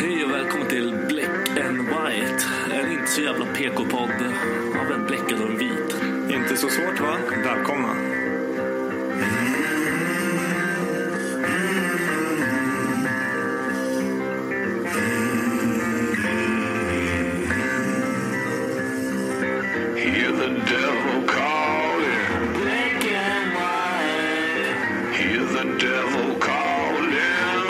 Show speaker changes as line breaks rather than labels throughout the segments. Hej och välkommen till Black and White. En inte så jävla PK-podd av en bläckad och en vit.
Inte så svårt va? Välkomna.
Hear the devil calling. Black and white. Hear the devil calling.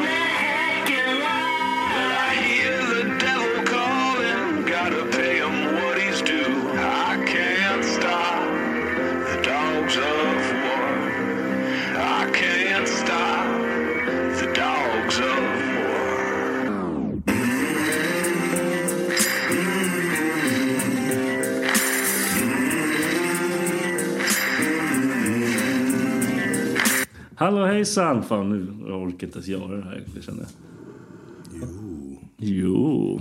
Black and white. I hear the devil calling. Gotta pay him what he's due. I can't stop the dogs of war. I can't stop the dogs of war.
Hallå hejsan! Fan nu jag orkar inte ens göra det här. Det känner jag. Jo. Jo.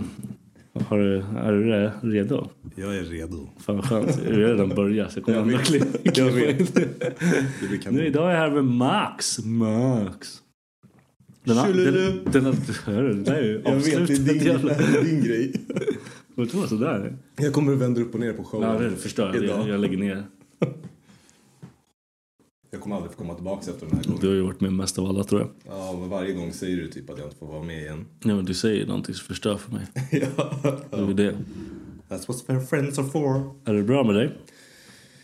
Har du, är du re- redo?
Jag är redo.
Fan vad skönt. Jag har redan börjat så jag kommer ändå klippa.
Det blir kanon.
Nu idag är jag här med Max. Max. Den, den, den, den, hörru, det där är ju
Jag vet, det är
avslutat
din,
jävla...
det är din grej.
Får det vara sådär?
Jag kommer att vända upp och ner på showen.
Ja, det förstör jag.
Idag.
Jag- Jag lägger ner.
Jag kommer aldrig få komma tillbaka efter den här
Du
gången.
har ju varit med mest av alla tror jag.
Ja, men varje gång säger du typ att jag inte får vara med igen.
Nej, men du säger ju någonting som förstör för mig.
ja.
Det är ju det.
That's what friends are for.
Är det bra med dig?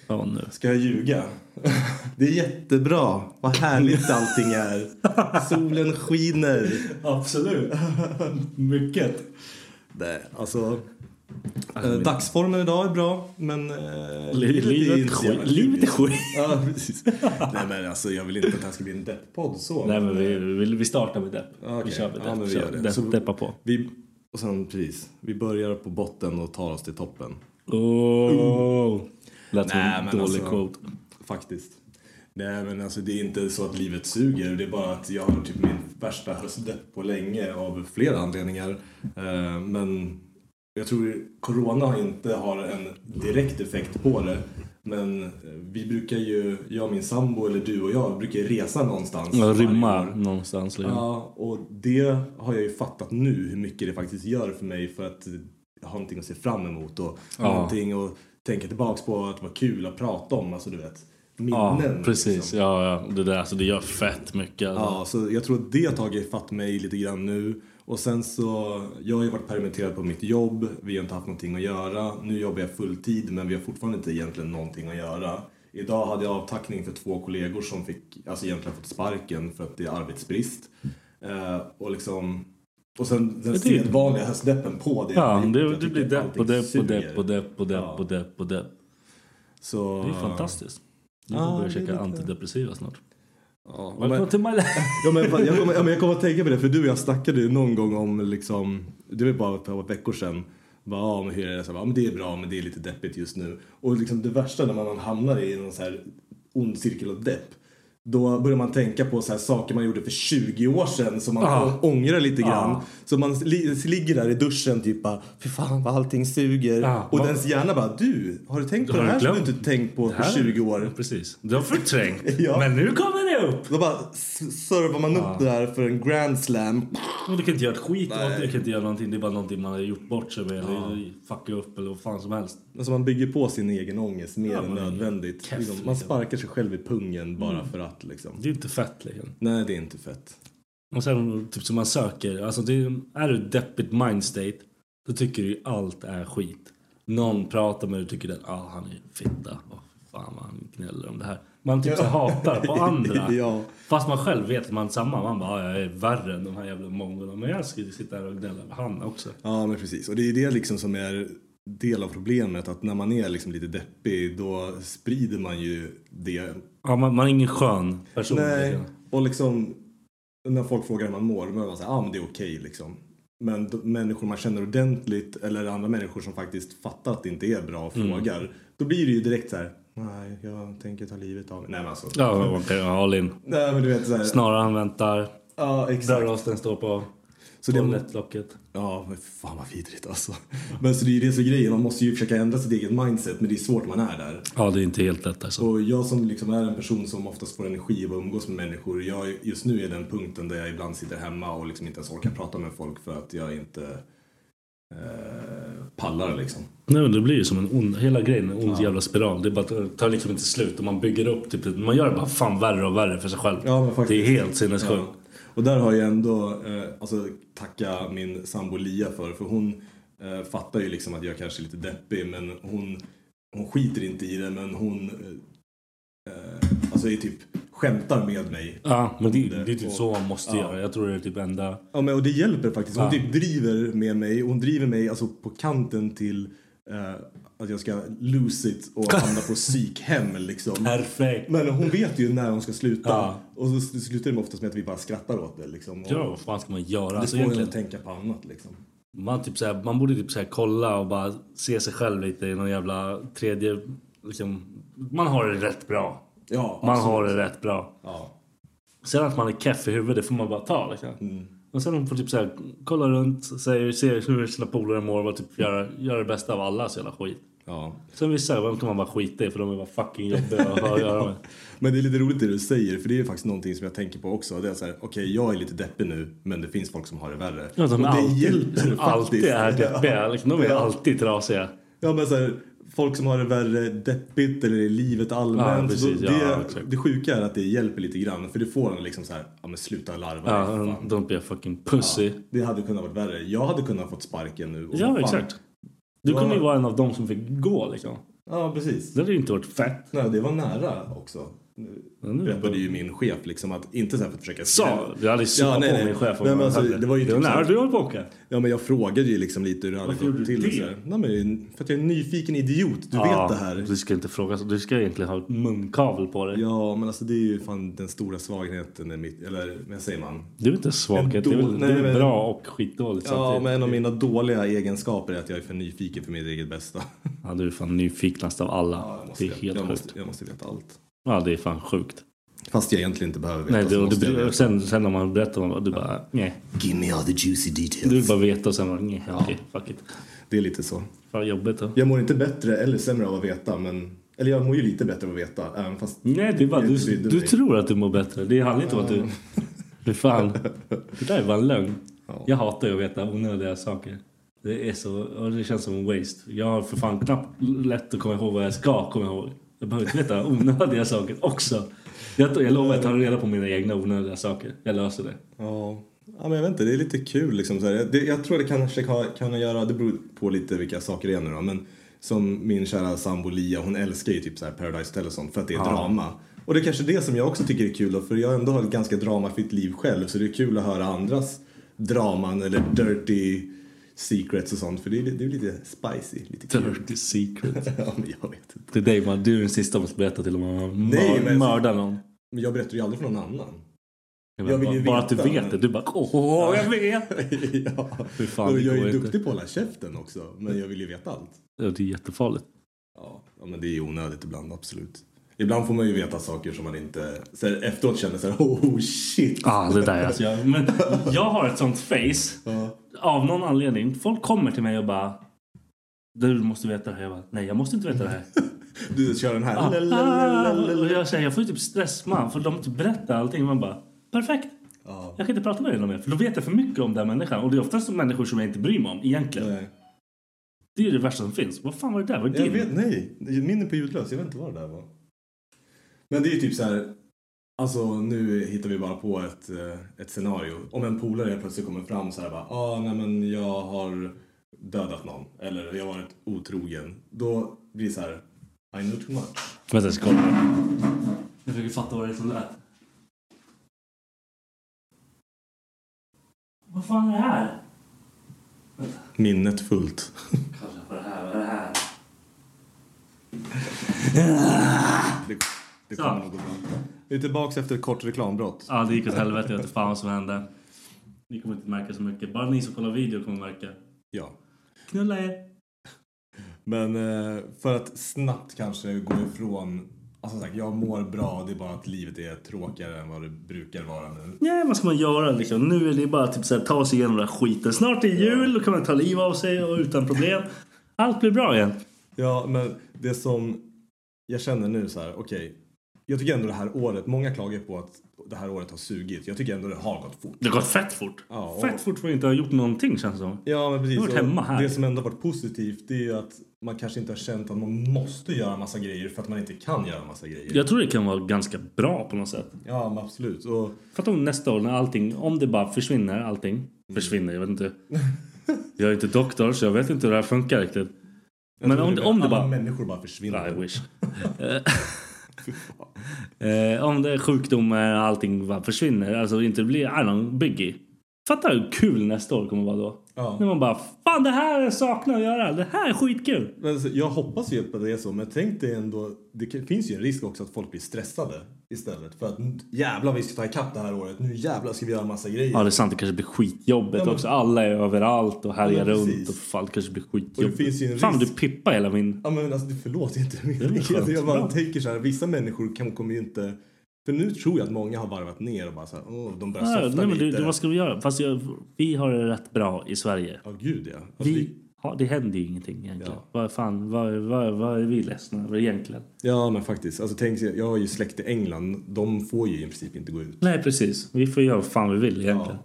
Ja, nu.
Ska jag ljuga? Det är jättebra. Vad härligt allting är. Solen skiner.
Absolut. Mycket.
Nej, alltså... Eh, dagsformen idag är bra, men... Eh,
Li-
är
livet,
inte så jävla
skit,
kul
livet är
just nu.
skit.
Ja, precis. Nej, men alltså, jag vill inte att det här ska bli en depp-podd så.
Nej, men vi, vi, vi startar med depp.
Okej.
Vi kör med depp.
Ja, men vi
Kör.
gör det.
Depp-
Så-
Deppa på.
Vi, och sen, precis. Vi börjar på botten och tar oss till toppen.
Oh. Lät som
Nej,
en
men
dålig
alltså-
quote.
Faktiskt. Nej, men alltså det är inte så att livet suger. Det är bara att jag har typ min värsta höstdepp på länge av flera anledningar. Eh, men jag tror corona har inte har en direkt effekt på det. Men eh, vi brukar ju, jag och min sambo, eller du och jag, brukar ju resa någonstans.
Ja,
varje
Rymma
år.
någonstans. Liksom.
Ja, och det har jag ju fattat nu hur mycket det faktiskt gör för mig för att jag har någonting att se fram emot och
Ja.
någonting att tänka tillbaks på att vara kul att prata om, alltså du vet,
Ja,
minnen.
precis.
liksom.
Ja, ja. Det, där, alltså, det gör fett mycket. alltså.
Ja, så jag tror att det har tagit fatt mig lite grann nu. Och sen så, jag har ju varit permitterad på mitt jobb, vi har inte haft någonting att göra. Nu jobbar jag fulltid men vi har fortfarande inte egentligen någonting att göra. Idag hade jag avtackning för två kollegor som fick, alltså egentligen fått sparken för att det är arbetsbrist. Eh, och liksom, och sen den
Det är ju-
sedvanliga höstdeppen på det.
Ja,
Jag
det,
tycker
det blir depp
allting
och depp och
suger.
depp och depp och depp och depp och depp.
Så,
Det är fantastiskt. Nu
Ja,
får börja
det är
käka
lite-
antidepressiva snart.
Ja, men-
Välkommen till my life!
Ja, men, fan, jag, kommer, ja, men jag kommer att tänka på det, för du och jag snackade ju någon gång om, liksom, det var bara ett par veckor sedan, bara, ja, men hur är det? Så, här, ja, men det är bra, men det är lite deppigt just nu. Och liksom, det värsta när man hamnar i någon så här ond cirkel av depp, då börjar man tänka på så här saker man gjorde för 20 år sedan som man
Ah.
ångrar lite grann.
Ah.
Så man li- ligger där i duschen typ bara, för fan vad allting suger.
Ah,
och
vad-
ens hjärna bara, du, har du tänkt på
Har
det
du
här som du
glömt?
inte tänkt på
Här-
för 20 år?
Precis. Du har förträngt.
Ja.
Men nu kommer det upp.
Då bara s- servar man
Ah.
upp det där för en grand slam.
Och du kan inte göra ett skit av det. Du kan inte göra någonting. Det är bara någonting man har gjort bort sig med. Eller fucka upp eller vad fan som helst.
Alltså man bygger på sin egen ångest mer än
man är
nödvändigt.
keff,
liksom, man
liksom. Mm.
sparkar sig själv i pungen bara för att liksom.
Det är inte fett liksom.
Nej, det är inte fett.
Och sen typ som man söker. Alltså det, är- är du deppigt mindstate. Då tycker du ju allt är skit. Någon pratar med dig och tycker att ah, han är fitta. Oh, fan vad han gnäller om det här. Man typ så hatar på andra.
Ja.
Fast man själv vet att man är samma. Man bara, "Ah, jag är värre än de här jävla mongolerna. Men jag ska ju sitta här och gnälla på han också.
Ja, men precis. Och det är det liksom som är del av problemet. Att när man är liksom lite deppig då sprider man ju det.
Ja, man, man är ingen skön person.
Nej.
liksom.
Och liksom när folk frågar hur man mår, då är man säga ah, men det är okej liksom. Men d- människor man känner ordentligt eller andra människor som faktiskt fattar att det inte är bra och
Mm.
frågar. Då blir det ju direkt så här. Nej, jag tänker ta livet av mig. Nej, men alltså.
Ja, okej. Ja, all in.
Nej, men du vet så här.
Snarare han väntar.
Ja, exakt.
Dörrlåsen står på.
Så det,
Toalettlocket.
Ja, men fan vad vidrigt alltså. Men så det är ju det som är grejen, man måste ju försöka ändra sitt eget mindset men det är svårt när man är där.
Ja, det är inte helt lätt alltså.
Och jag som liksom är en person som oftast får energi av att umgås med människor, jag just nu är den punkten där jag ibland sitter hemma och liksom inte ens orkar prata med folk för att jag inte eh, pallar liksom.
Nej, men det blir ju som en ond, hela grejen, en ond jävla spiral. Det är bara, att- tar liksom inte slut och man bygger upp. Typ, man gör det bara fan värre och värre för sig själv.
Ja, men faktiskt.
det är helt sinnessjukt.
Ja. Och där har jag ändå, eh, alltså tacka min sambo Lia för, för hon eh, fattar ju liksom att jag kanske är lite deppig men hon, hon skiter inte i det men hon eh, eh, alltså är typ skämtar med mig.
Ja. men det, det är typ så man måste göra. Jag tror det är typ enda...
Ja men och det hjälper faktiskt. Hon
Ja.
typ driver med mig, hon driver mig alltså på kanten till eh, att jag ska lose it och hamna på psykhem liksom.
Perfekt!
Men hon vet ju när hon ska sluta.
Ja.
Och så slutar det med oftast med att vi bara skrattar åt det liksom. Och
Ja, vad fan ska man göra?
det
Alltså,
får en
egentligen,
att tänka på annat liksom.
man, typ så här, man borde typ så här kolla och bara se sig själv lite i någon jävla tredje... Liksom, man har det rätt bra.
Ja,
Man
absolut.
har det rätt bra.
Ja.
Sen att man är keff i huvudet, det får man bara ta. Liksom.
Mm.
Och sen får man typ så här, kolla runt, se, se hur sina polare mår och typ göra, göra det bästa av alla så jävla skit.
ja.
Sen vissa, vem kan man bara skita i för de är bara fucking jobbiga att ha att göra med.
Men det är lite roligt det du säger, för det är faktiskt någonting som jag tänker på också. Det är så här, okej, jag är lite deppig nu, men det finns folk som har det värre.
Ja, de
och
är
det
alltid,
hjälper
som alltid är
faktiskt.
deppiga. Liksom, de är
Ja.
alltid trasiga.
Ja, men så här, folk som har det värre deppigt eller i livet allmänt.
Ja, precis.
då,
Ja,
det,
exakt.
det sjuka är att det hjälper lite grann, för det får en liksom så här, ja men sluta larva
Ja, mm.
dig, fan.
don't be a fucking pussy. Ja,
Det hade kunnat varit värre. Jag hade kunnat fått sparken nu. och fan-
exakt. Du
Ja.
kunde ju vara en av dem som fick gå liksom.
Ja, precis.
Det hade ju inte varit fett.
Nej, det var nära också.
Men nu-
berättade ju min chef liksom att inte så här för att försöka
Så, jag Mm. hade ju
Ja,
ja,
nej,
på
nej.
min chef om
Nej, men
jag
alltså,
hade-
det var ju
Det
typ så här-
nära du höll på att åka.
Ja men jag frågade ju liksom lite hur det hade
Varför
gått
gjorde
till.
du
och
det?
så här. Nej, men, för att jag är en nyfiken idiot, du
Ja,
vet det här.
Du ska inte fråga så. Du ska egentligen ha ett munkavel på dig.
Ja men alltså det är ju fan den stora svagheten i mitt, eller vad säger man?
Det är väl inte en svaghet. Det är väl
En
det är
då-
väl
nej, men-
bra och skitdåligt
Ja
samtidigt.
men en av mina dåliga egenskaper är att jag är för nyfiken för mitt eget bästa.
Ja, du är fan nyfiknast av alla.
Jag måste
det är
veta-
helt
jag,
sjukt.
måste, jag måste veta allt.
Ja, det är fan sjukt.
Fast jag egentligen inte behöver veta
Nej, det,
så
och
måste jag
du,
veta.
och sen, sen när man berättar om det, du bara nej.
Give me all the juicy
Du
details.
vill bara veta och sen bara nej, okej, fuck it.
Det är lite så.
Fan jobbigt då.
Jag mår inte bättre eller sämre av att veta men... Eller jag mår ju lite bättre av att veta även fast...
Nej, det är bara,
Jag
du,
brydde
du,
mig.
tror att du mår bättre. Det handlar inte om att du... Du fan. Det där är bara en lögn. Jag hatar ju att veta onödiga saker. Det är så... Och det känns som en waste. Jag har för fan knappt lätt att komma ihåg vad jag ska komma ihåg. Jag behöver inte veta onödiga saker också. Jag, jag lovar att ta reda på mina egna onödiga saker. Jag löser det.
Ja. ja, men jag vet inte, det är lite kul liksom. Så här. Jag- Det, jag tror det kanske kan, kan göra, det beror på lite vilka saker det är nu då, men som min kära sambo Lia, hon älskar ju typ så här Paradise Hotel och sånt för att det är drama. Och det är kanske det som jag också tycker är kul då, för jag ändå har ett ganska dramafritt liv själv så det är kul att höra andras draman eller dirty secrets och sånt för det är, det är lite spicy, lite kul.
Dirty secret.
ja, men jag vet inte.
Det är dig man. Du är den sista som berättar till om man
Nej,
mör,
men-
mördar någon.
Men jag berättar ju aldrig för någon annan.
Jag
vill ju
bara, bara att du
veta,
vet
men-
det. Du bara åh, jag vet!
ja.
Fy fan,
och
det
jag
går
är ju
inte.
duktig på att hålla käften också, men jag vill ju veta allt.
Ja, Det är jättefarligt.
Ja, ja, men det är onödigt ibland, absolut. Ibland får man ju veta saker som man inte... Så här, efteråt känner så här, oh shit!
Ja, ah, det där alltså. Jag, men jag har ett sånt face. Av någon anledning. Folk kommer till mig och bara... Du måste veta det här. Jag bara, nej jag måste inte veta det här.
Du kör den här.
Ah, ah,
Lalalala.
Och jag, säger, jag får ju typ stress man, för de typ berättar allting. Man bara, perfekt.
Ah.
Jag kan inte prata med dig någon mer, för då vet jag för mycket om den här människan. Och det är oftast människor som jag inte bryr mig om egentligen.
Nej.
Det är ju det värsta som finns. Vad fan var det där? Var det
Jag
din?
vet, nej. Min är på ljudlös. Jag vet inte vad det där var. Men det är typ så här. Alltså nu hittar vi bara på ett, eh, ett scenario. Om en polare helt plötsligt kommer fram så här bara. Ah, nej men jag har dödat någon. Eller jag har varit otrogen. Då blir det så här. I know too much.
Vänta, jag ska kolla. Jag försöker fatta vad det är som lät. Vad fan är det här?
Minnet fullt.
Kolla på det här, vad är det här?
Det, det
Så.
kommer nog gå bra. Vi är tillbaka efter ett kort reklambrott.
Ja, det gick åt helvete. Jag vet inte fan vad som hände. Ni kommer inte märka så mycket. Bara ni som kollar video kommer märka.
Ja.
Knulla er!
Men eh, för att snabbt kanske gå ifrån... Alltså som sagt, jag mår bra. Det är bara att livet är tråkigare än vad det brukar vara nu.
Nej, vad ska man göra liksom? Nu är det bara typ så här, ta sig igenom den här skiten. Snart är jul, då kan man ta liv av sig och utan problem. Allt blir bra igen.
Ja, men det som jag känner nu så här, okej. jag tycker ändå det här året, många klagar på att det här året har sugit. Jag tycker ändå det har gått fort.
Det har gått fett fort.
Ja, och-
Fett fort för att inte ha gjort någonting känns det som.
Ja, men precis.
Jag har varit
Och
hemma här.
Det som ändå har varit positivt det är ju att man kanske inte har känt att man måste göra massa grejer för att man inte kan göra massa grejer.
Jag tror det kan vara ganska bra på något sätt.
Ja, men absolut. Och
För att om nästa år när allting, om det bara försvinner allting. Försvinner, jag vet inte. Jag är inte doktor så jag vet inte hur det här funkar riktigt. Men om, det- om det
alla
bara...
människor bara försvinner.
I wish. eh, om det är sjukdomar och allting bara försvinner. Alltså inte blir, I don't know, biggie. Fattar hur kul nästa år kommer vara då.
Ja.
När man bara, fan det här saknar jag att göra. Det här är skitkul.
Men alltså, jag hoppas ju på det är så, men tänk dig ändå. Det kan- finns ju en risk också att folk blir stressade istället. För att nu jävlar vi ska ta ikapp det här året. Nu jävlar ska vi göra massa grejer.
Ja det är sant, det kanske blir skitjobbigt
men-
också. Alla är överallt och härjar
Ja, men precis.
runt. Och fan, det kanske blir
Och det finns ju en
skitjobbigt. Fan du
risk.
pippar hela min...
Ja men alltså det- förlåt inte
är väl
min
skönt.
Jag bara
Bra.
tänker så här, vissa människor kan, kommer ju inte... För nu tror jag att många har varvat ner och bara så här, åh, de börjar
Nej,
softa
nej, men
lite.
du, du, vad ska vi göra? Fast jag, vi har det rätt bra i Sverige.
Ja gud ja. Alltså,
Vi, ja, det händer ju ingenting egentligen.
Ja.
Vad fan, vad, vad, vad är vi ledsna över egentligen?
Ja men faktiskt. Alltså tänk sig, jag har ju släkt i England. De får ju i princip inte gå ut.
Nej precis, vi får göra vad fan vi vill egentligen.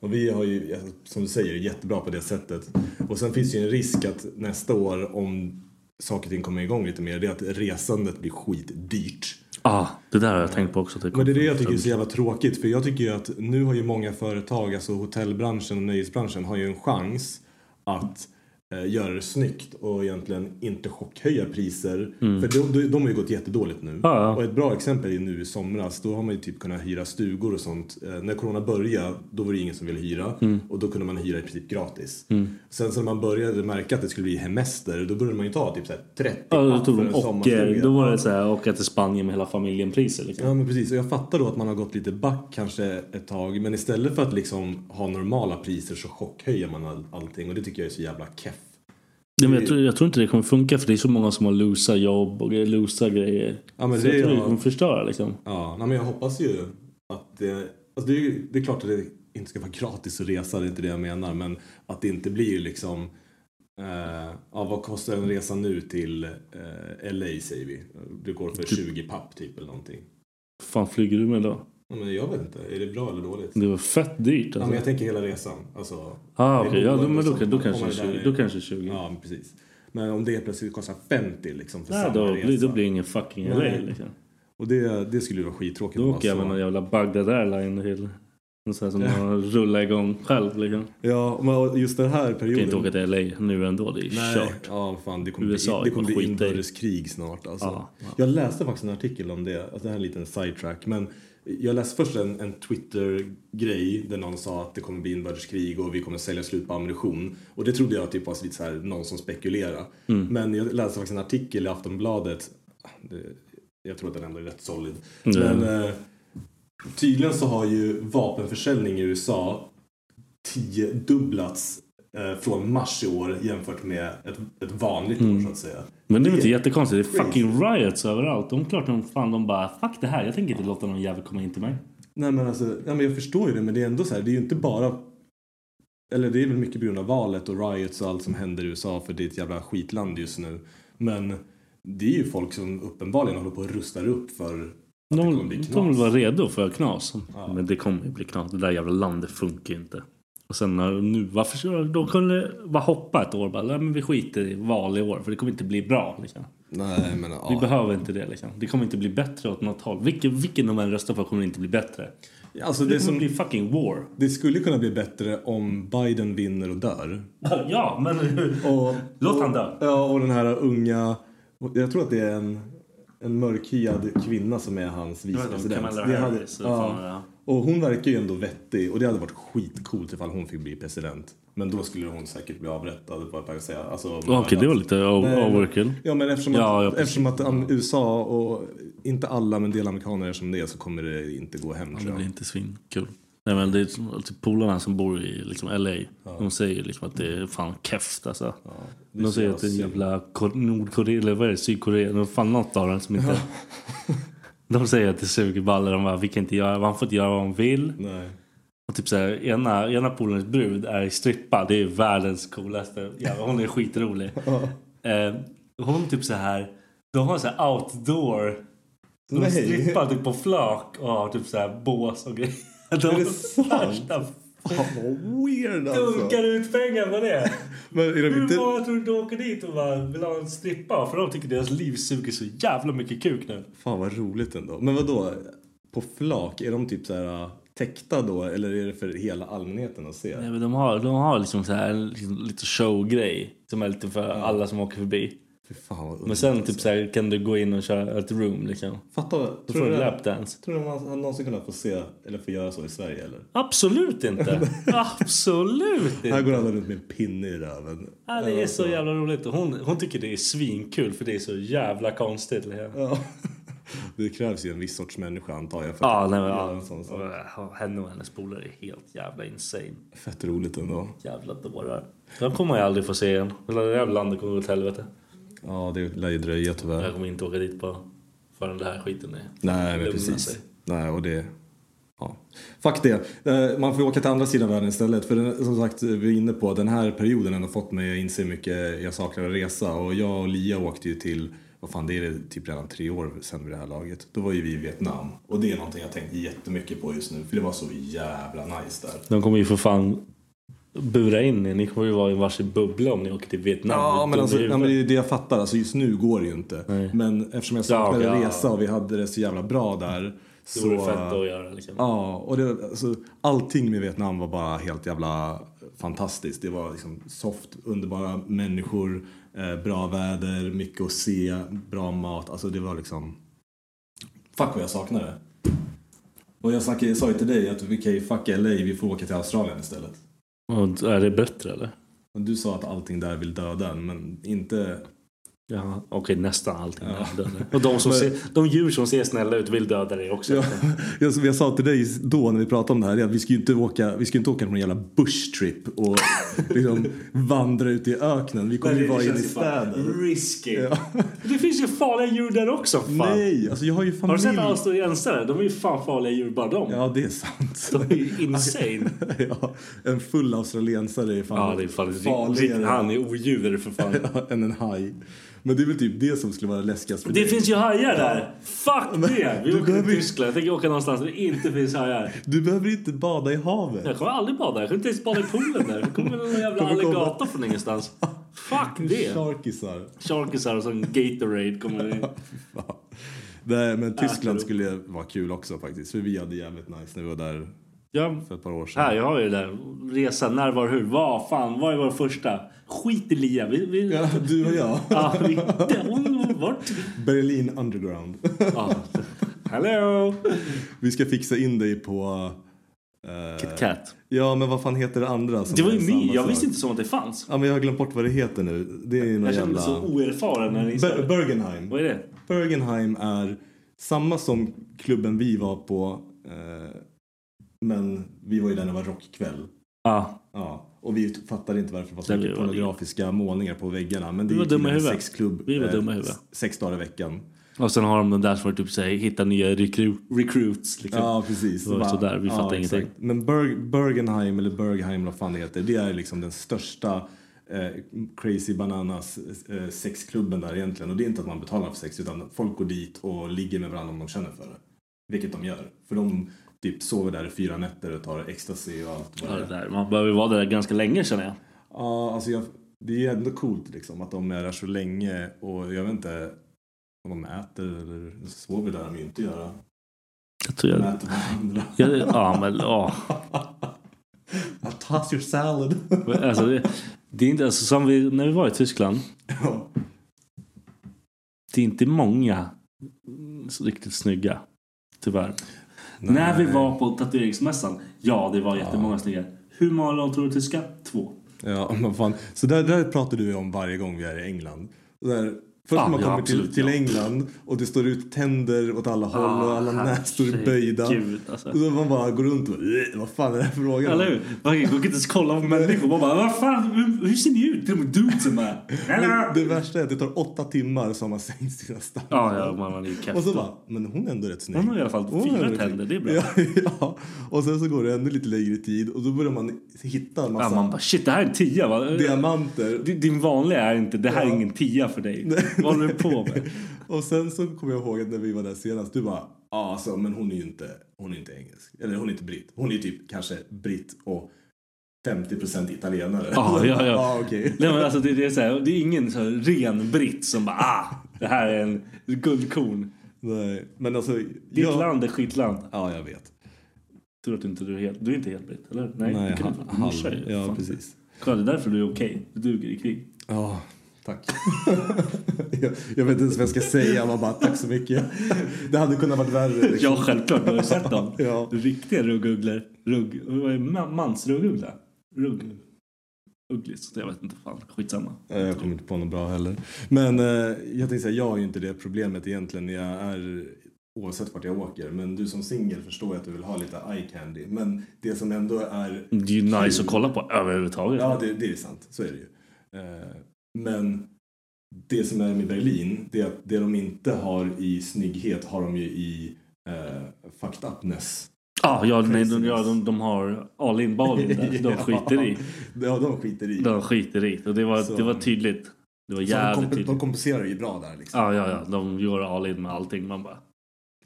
Och vi har ju, alltså, som du säger, jättebra på det sättet. Och sen finns ju en risk att nästa år, om saker och ting kommer igång lite mer, det är att resandet blir skitdyrt.
Ja, ah, det där har jag tänkt på också. typ.
Men det är det jag tycker är så jävla tråkigt, för jag tycker ju att nu har ju många företag, alltså hotellbranschen och nöjesbranschen, har ju en chans att eh, göra det snyggt och egentligen inte chockhöja priser. För de, de, de har ju gått jättedåligt nu.
Mm. Ja, ja.
Och ett bra exempel är nu i somras, då har man ju typ kunnat hyra stugor och sånt. Eh, när corona började, då var det ingen som ville hyra
Mm.
och då kunde man hyra i princip gratis. Sen så när man började märka att det skulle bli hemester, då började man ju ta typ så här 30
Ja, då
papp
tog
för
de
en
åker.
sommarstuga.
Då var det så här, åka till Spanien med hela familjen priser liksom.
Ja men precis och jag fattar då att man har gått lite back kanske ett tag men istället för att liksom ha normala priser så chockhöjer man all, allting och det tycker jag är så jävla keff.
Nej, men jag, tror, jag tror inte det kommer funka för det är så många som har losa jobb och losa grejer.
Ja, men
så
det
jag tror
är-
det kommer förstöra liksom.
Ja, nej, men jag hoppas ju att det, alltså det, är, ju- det är klart att det inte ska vara gratis att resa, det är inte det jag menar men att det inte blir liksom eh, ja, vad kostar en resa nu till eh, LA säger vi? Det går för 20 papp typ eller någonting.
Vad fan flyger du med då?
Ja, men jag vet inte, är det bra eller dåligt?
Det var fett dyrt
Ja,
alltså.
men jag tänker hela resan. Alltså,
Ah,
det är
okej. Ja, då-
boende
men då
som-
kan- då kanske
om man är där
20
i-
då kanske 20.
Ja, men precis. Men om det helt plötsligt kostar 50 liksom för
Nej,
samma
då,
resa.
blir, då blir det ingen fucking
Nej.
LA liksom.
Och det, det skulle ju vara skittråkigt.
Då
om man
åker jag
så-
med någon jävla Bagdad Airline till. En sån här som man rullar igång själv liksom.
Ja, men just den här
Jag kan
perioden.
inte åka till LA nu ändå. Det är
Nej,
kört.
ja, fan, det kommer
USA
bli, det kommer
är
bli
skit i.
inbördeskrig snart. Alltså.
Ja, ja.
Jag läste faktiskt en artikel om det, alltså, det här är en liten sidetrack. Men jag läste först en, en Twitter-grej där någon sa att det kommer bli inbördeskrig och vi kommer sälja slut på ammunition. Och det trodde jag typ var lite så här, någon som spekulerade.
Mm.
Men jag läste faktiskt en artikel i Aftonbladet, Ah, det, jag tror att den ändå är rätt solid.
Mm.
Men eh, tydligen så har ju vapenförsäljning i USA tiodubblats eh, från mars i år jämfört med ett, ett vanligt år så att säga.
Mm. Men det är väl inte jättekonstigt? Det är fucking riots överallt. De klart de fan de bara fuck det här. Jag tänker inte låta någon jävel komma in till mig.
Nej men alltså, ja, men jag förstår ju det men det är ändå så här, det är ju inte bara eller det är väl mycket på grund av valet och riots och allt som händer i USA för det är ett jävla skitland just nu. Men det är ju folk som uppenbarligen håller på och rustar upp för att det kommer
De,
bli knas.
de var redo för knas. Men det kommer ju bli knas. Det där jävla landet funkar ju inte. Och sen när de nu, varför ska de kunde bara hoppa ett år bara, nej men vi skiter i val i år för det kommer inte bli bra liksom.
Nej, men
Vi
ja.
behöver inte det liksom. Det kommer inte bli bättre åt något håll. Vilken, vilken de än röstar för kommer inte bli bättre.
Alltså
Det
det,
kommer bli
som,
fucking war.
det skulle kunna bli bättre om Biden vinner och dör.
Ja, men
Och,
låt han dö.
ja, och den här unga... Jag tror att det är en, en mörkhyad kvinna som är hans vicepresident.
Kamala
Det hade-
Harris, eller vad fan det är.
ja. Och hon verkar ju ändå vettig och det hade varit skitcoolt ifall hon fick bli president. Men då skulle hon säkert bli avrättad, vad jag kan säga. Alltså,
Okej, det var lite
Nej, men-
overkill.
Ja, men eftersom att,
Ja, ja, precis.
eftersom att am- USA och inte alla, men en del amerikaner är som det är så kommer det inte gå hem
Det
tror
blir
jag.
inte svinkul. Nej men det är som- alltså, polarna som bor i liksom, LA. De säger ju liksom att det är fan keft alltså. de säger att det är en jävla Kor- Nordkorea eller vad är det? Sydkorea. De fan något av dem som inte... de säger att det suger baller. De bara, vi kan inte göra, man får inte göra vad man vill.
Nej.
Och typ såhär, ena, ena polarens brud är strippa. Det är världens coolaste. Jävlar, hon är skitrolig. eh, hon typ så här. De har så här outdoor. De
Nej.
strippar typ på flak och har typ så här bås och grejer. De
Är det sant? Alltså.
värsta
Fan vad weird alltså.
dunkar ut pengar på det.
Men är typ- de
Hur
inte...
många tror du inte åker dit och bara vill ha en strippa? För de tycker deras liv suger så jävla mycket kuk nu.
Fan vad roligt ändå. Men vad då? På flak, är de typ så här äh, täckta då eller är det för hela allmänheten att se?
Nej, men de har, de har liksom så här en liksom, lite showgrej. Som är lite för alla som åker förbi.
Fy fan vad
Men
underbart.
sen typ så här, kan du gå in och köra ett room liksom.
Fatta, tror
Då får
du
du
det-
lapdance.
Tror du man hade någonsin kunnat få se eller få göra så i Sverige eller?
Absolut inte! Absolut
Här
inte!
går alla runt med en pinne i röven.
Ja, det är så jävla roligt. Och Hon, hon tycker det är svinkul för det är så jävla konstigt. Liksom.
Ja. Det krävs ju en viss sorts människa antar jag för
Ja, nej, men,
göra
ja.
en sån sak.
Och Henne och hennes polare är helt jävla insane.
Fett roligt ändå.
Jävla dårar. De kommer jag aldrig få se igen. Hela det jävla landet kommer gå åt helvete.
Ja, det lär ju dröja tyvärr.
Jag kommer inte åka dit på förrän den här skiten är...
Nej, men
lugnar
precis.
sig.
Nej, och det... Ja. Fuck det. Eh, Man får åka till andra sidan världen istället. För den- som sagt, vi är inne på att den här perioden ändå fått mig att inse hur mycket jag saknar att resa. Och jag och Lia åkte ju till, vad fan det är det typ redan tre år sedan vid det här laget. Då var ju vi i Vietnam. Och det är någonting jag tänkt jättemycket på just nu. För det var så jävla nice där.
De kommer ju för fan bura in er. Ni kommer ju vara i varsin bubbla om ni åker till Vietnam.
Ja,
Ni är
men, alltså,
dumma i
nej, men det
huvudet.
är det jag fattar. Alltså, just nu går det ju inte. Men eftersom jag saknade
Ja, ja.
resa och vi hade det så jävla bra där.
Det
Så,
vore fett att göra liksom.
Ja, och det, alltså, allting med Vietnam var bara helt jävla fantastiskt. Det var liksom soft, underbara människor, eh, bra väder, mycket att se, bra mat. Alltså det var liksom... Fuck vad jag saknar det. Och jag snackade, sa ju till dig att vi kan ju fuck LA, vi får åka till Australien istället.
Och Är det bättre eller?
Och du sa att allting där vill döda en, men inte...
Ja, okej nästan allting är dödade. Och de, som ser, de djur som ser snälla ut vill döda dig också.
Ja, jag, jag sa till dig då när vi pratade om det här, det är att vi ska ju inte åka, vi ska ju inte åka på någon jävla bushtrip och liksom vandra ut i öknen. Vi kommer ju vara inne i städer.
Risky. Det finns ju farliga djur där också. Fan.
Nej, alltså jag har ju
Har du
familj.
sett australiensare? De är ju fan farliga djur bara de.
Ja, det är sant.
De är ju insane.
ja, en full australiensare är fan,
Ja, det är fan
farligare
farligare. Han är odjur för fan.
än en haj. Men det är väl typ det som skulle vara läskigast för
Det
dig.
finns ju hajar där! Fuck det! Vi
du
åker
behöver
till
ju-
Tyskland. Jag tänker åka någonstans där det inte finns hajar.
Du behöver inte bada i havet.
Jag kommer aldrig bada. Jag kommer inte ens bada i poolen där. Det kommer någon jävla
Kommer komma-
alligator från ingenstans. Fuck det!
Sharkisar.
Sharkisar och sån Gatorade kommer in.
Fan. Nej, men Tyskland
det-
skulle vara kul också faktiskt. För vi hade jävligt nice när vi var där
Ja.
för ett par år sedan.
Här, jag har ju det där. Resa, när, var, hur, vad, fan, vad är vår första? Skit i Lia. Vi, vi,
Ja, du och jag.
ja, vi, hon, vart?
Berlin Underground.
Ja. Hello!
Vi ska fixa in dig på... eh,
Kit Kat.
Ja, men vad fan heter det andra? som
Det var ju
är samma
min. Jag
sak?
visste inte som att det fanns.
Ja, men jag har glömt bort vad det heter nu. Det är ju någon
Jag kände mig
jävla...
så oerfaren när ni sa
Ber-
det.
Bergenheim.
Vad är det?
Bergenheim är samma som klubben vi var på. Eh, men vi var ju där när det var rockkväll.
Ja.
Ja, och vi fattade inte varför det var så
Där
mycket
vi var
pornografiska målningar på väggarna. Men det
Vi var
är ju
dumma i
tydligen en
huvudet.
sexklubb.
Vi var
eh,
dumma i huvudet.
Sex dagar i veckan.
Och sen har de den där som var typ såhär, hitta nya recru- recruits. Liksom.
Ja, precis.
Det var
Bara-
sådär, vi fattar ingenting.
Men Berg, Bergenheim, eller Bergheim, vad fan det heter, det är liksom den största eh, Crazy Bananas eh, sexklubben där egentligen. Och det är inte att man betalar för sex utan folk går dit och ligger med varandra om de känner för det. Vilket de gör. För de typ sover där i fyra nätter och tar ecstasy och allt vad
Ja,
det
det
är.
där. Man behöver ju vara där ganska länge känner jag.
Ja, alltså jag, det är ändå coolt liksom att de är där så länge och jag vet inte om de äter eller sover där de ju inte göra.
Jag tror
De
jag...
äter varandra.
jag ja, men ja.
I toss your salad.
Men Alltså, det, det är inte... Alltså, som vi, när vi var i Tyskland.
Ja.
Det är inte många så riktigt snygga. Tyvärr. När vi var på tatueringsmässan. Ja, det var jättemånga snygga. Hur många av dem tror du är tyska? Två.
Ja, men fan. Så där, där pratar du om varje gång vi är i England. Så Där, först
Ah,
när man
ja,
kommer
absolut,
till, till
ja. Ah,
England och det står ut tänder åt alla håll och alla näsor är böjda.
herregud, alltså.
Och så man bara går runt och bara, "Eh, vad fan är det här för frågan?
Eller hur? Man kan inte ens kolla på människor. Man bara, vad fan, hur, hur ser ni ut? Det är de dudesen där.
Men
Eller?
det värsta är att det tar åtta timmar så har man sänkt sina standarder.
Ja, ja, man man är ju kaff
Och så
då.
bara, men hon är ändå rätt snygg.
Hon har i alla fall
Hon är
fyra
ändå rätt
tänder,
snygg.
det är bra.
Ja, ja. Och sen så går det ännu lite längre tid och då börjar man hitta
Ja,
en massa
man bara, shit, det här är en tia va?
diamanter.
Din- Din vanliga är inte, det här är ingen tia för dig. Vad håller du på med?
Och sen så kommer jag ihåg att när vi var där senast, du bara ja alltså, men hon är ju inte, hon är inte engelsk. Eller hon är inte britt. Hon är ju typ kanske britt och 50% italienare.
Ja, ja, ja.
ah, okej.
Nej, men alltså, det, det, är så här, det är ingen så här ren britt som bara, ah, det här är en guldkorn.
Nej, men alltså.
Ditt land är skitland.
Ja, jag vet.
Tror att du inte du är helt, du är inte helt britt, eller? Nej,
Nej,
du kan inte.
ha-
Din morsa är ju
halv. Ja,
fan
precis.
Kolla, det är därför du är okej. Du duger i krig.
Ja, tack. jag, jag vet inte ens vad jag ska säga. Man bara, tack så mycket. Det hade kunnat varit värre. liksom.
Ja, självklart. Du har ju sett dem.
Ja.
Riktiga ruggugglor. Rugg... Vad är ma- mansruggugla? Rugg... Ugglis. Jag vet inte. Fan, skitsamma.
Eh, Jag kommer inte på något bra heller. Men eh, jag tänkte säga, jag har ju inte det problemet egentligen. Jag är oavsett vart jag åker. Men du som singel förstår jag att du vill ha lite eye candy. Men det som ändå är...
Det är ju nice att kolla på överhuvudtaget.
Ja, det, det är sant. Så är det ju. Eh, Men det som är med Berlin, det är att det de inte har i snygghet har de ju i eh, fucked upness.
Ah, ja, nej, de, ja de, de har all in ball in där. De skiter i.
Ja, de skiter i.
De skiter i. Och det
Så-
var, det var tydligt. Det var
Så de,
jävligt
komp- de
tydligt.
kompenserar ju bra där liksom.
Ja, ja, ja. De gör all in med allting. Man bara...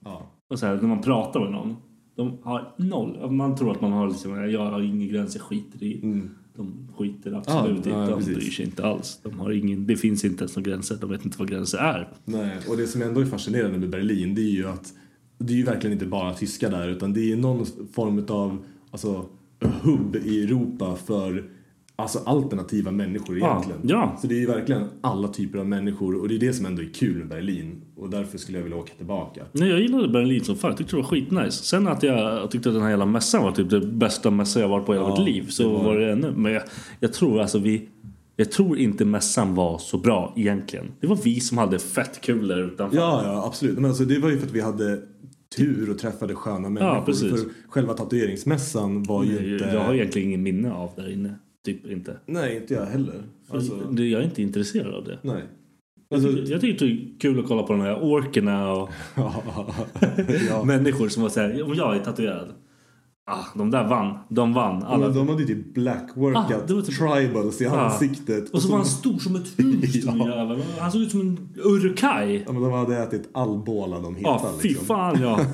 Ja.
Och så här, när man pratar med någon. De har noll. Man tror att man har liksom, jag har ingen gräns, jag skiter i.
Mm.
De skiter absolut
Ja, ja,
inte. De
precis.
bryr sig inte alls. De har ingen, det finns inte ens några gränser. De vet inte vad gränser är.
Nej, och det som ändå är fascinerande med Berlin det är ju att det är ju verkligen inte bara tyskar där utan det är ju någon form av alltså, hubb i Europa för alltså, alternativa människor
Ja,
egentligen.
ja.
Så det är ju verkligen alla typer av människor och det är det som ändå är kul med Berlin och därför skulle jag vilja åka tillbaka.
Nej, jag gillade Berlin som fan. Jag tyckte det var skitnice. Sen att jag tyckte att den här hela mässan var typ det bästa mässan jag varit på i hela mitt liv. Så var det ännu. Men jag, jag tror alltså vi... Jag tror inte mässan var så bra egentligen. Det var vi som hade fett kul där utanför.
Ja, ja absolut. Men alltså, det var ju för att vi hade tur och träffade sköna människor.
precis.
För själva tatueringsmässan var ju
jag,
inte...
jag har egentligen ingen minne av där inne. Typ inte.
Nej, inte jag heller. Alltså,
Det- Jag är inte intresserad av det.
nej. Alltså,
Jag tyckte det är kul att kolla på de här orkerna och
ja.
människor som var såhär, om jag är tatuerad. Ah, de där vann. De vann. Alla.
Men de hade ju typ
Ah,
blackworkat
det var typ-
tribals i ansiktet.
Och så var han stor som ett hus. den
Ja.
jäveln. Han såg ut som en urkaj.
Ja, men de hade ätit all båla de hittade.
Ja, ah, fy
liksom.
fan ja.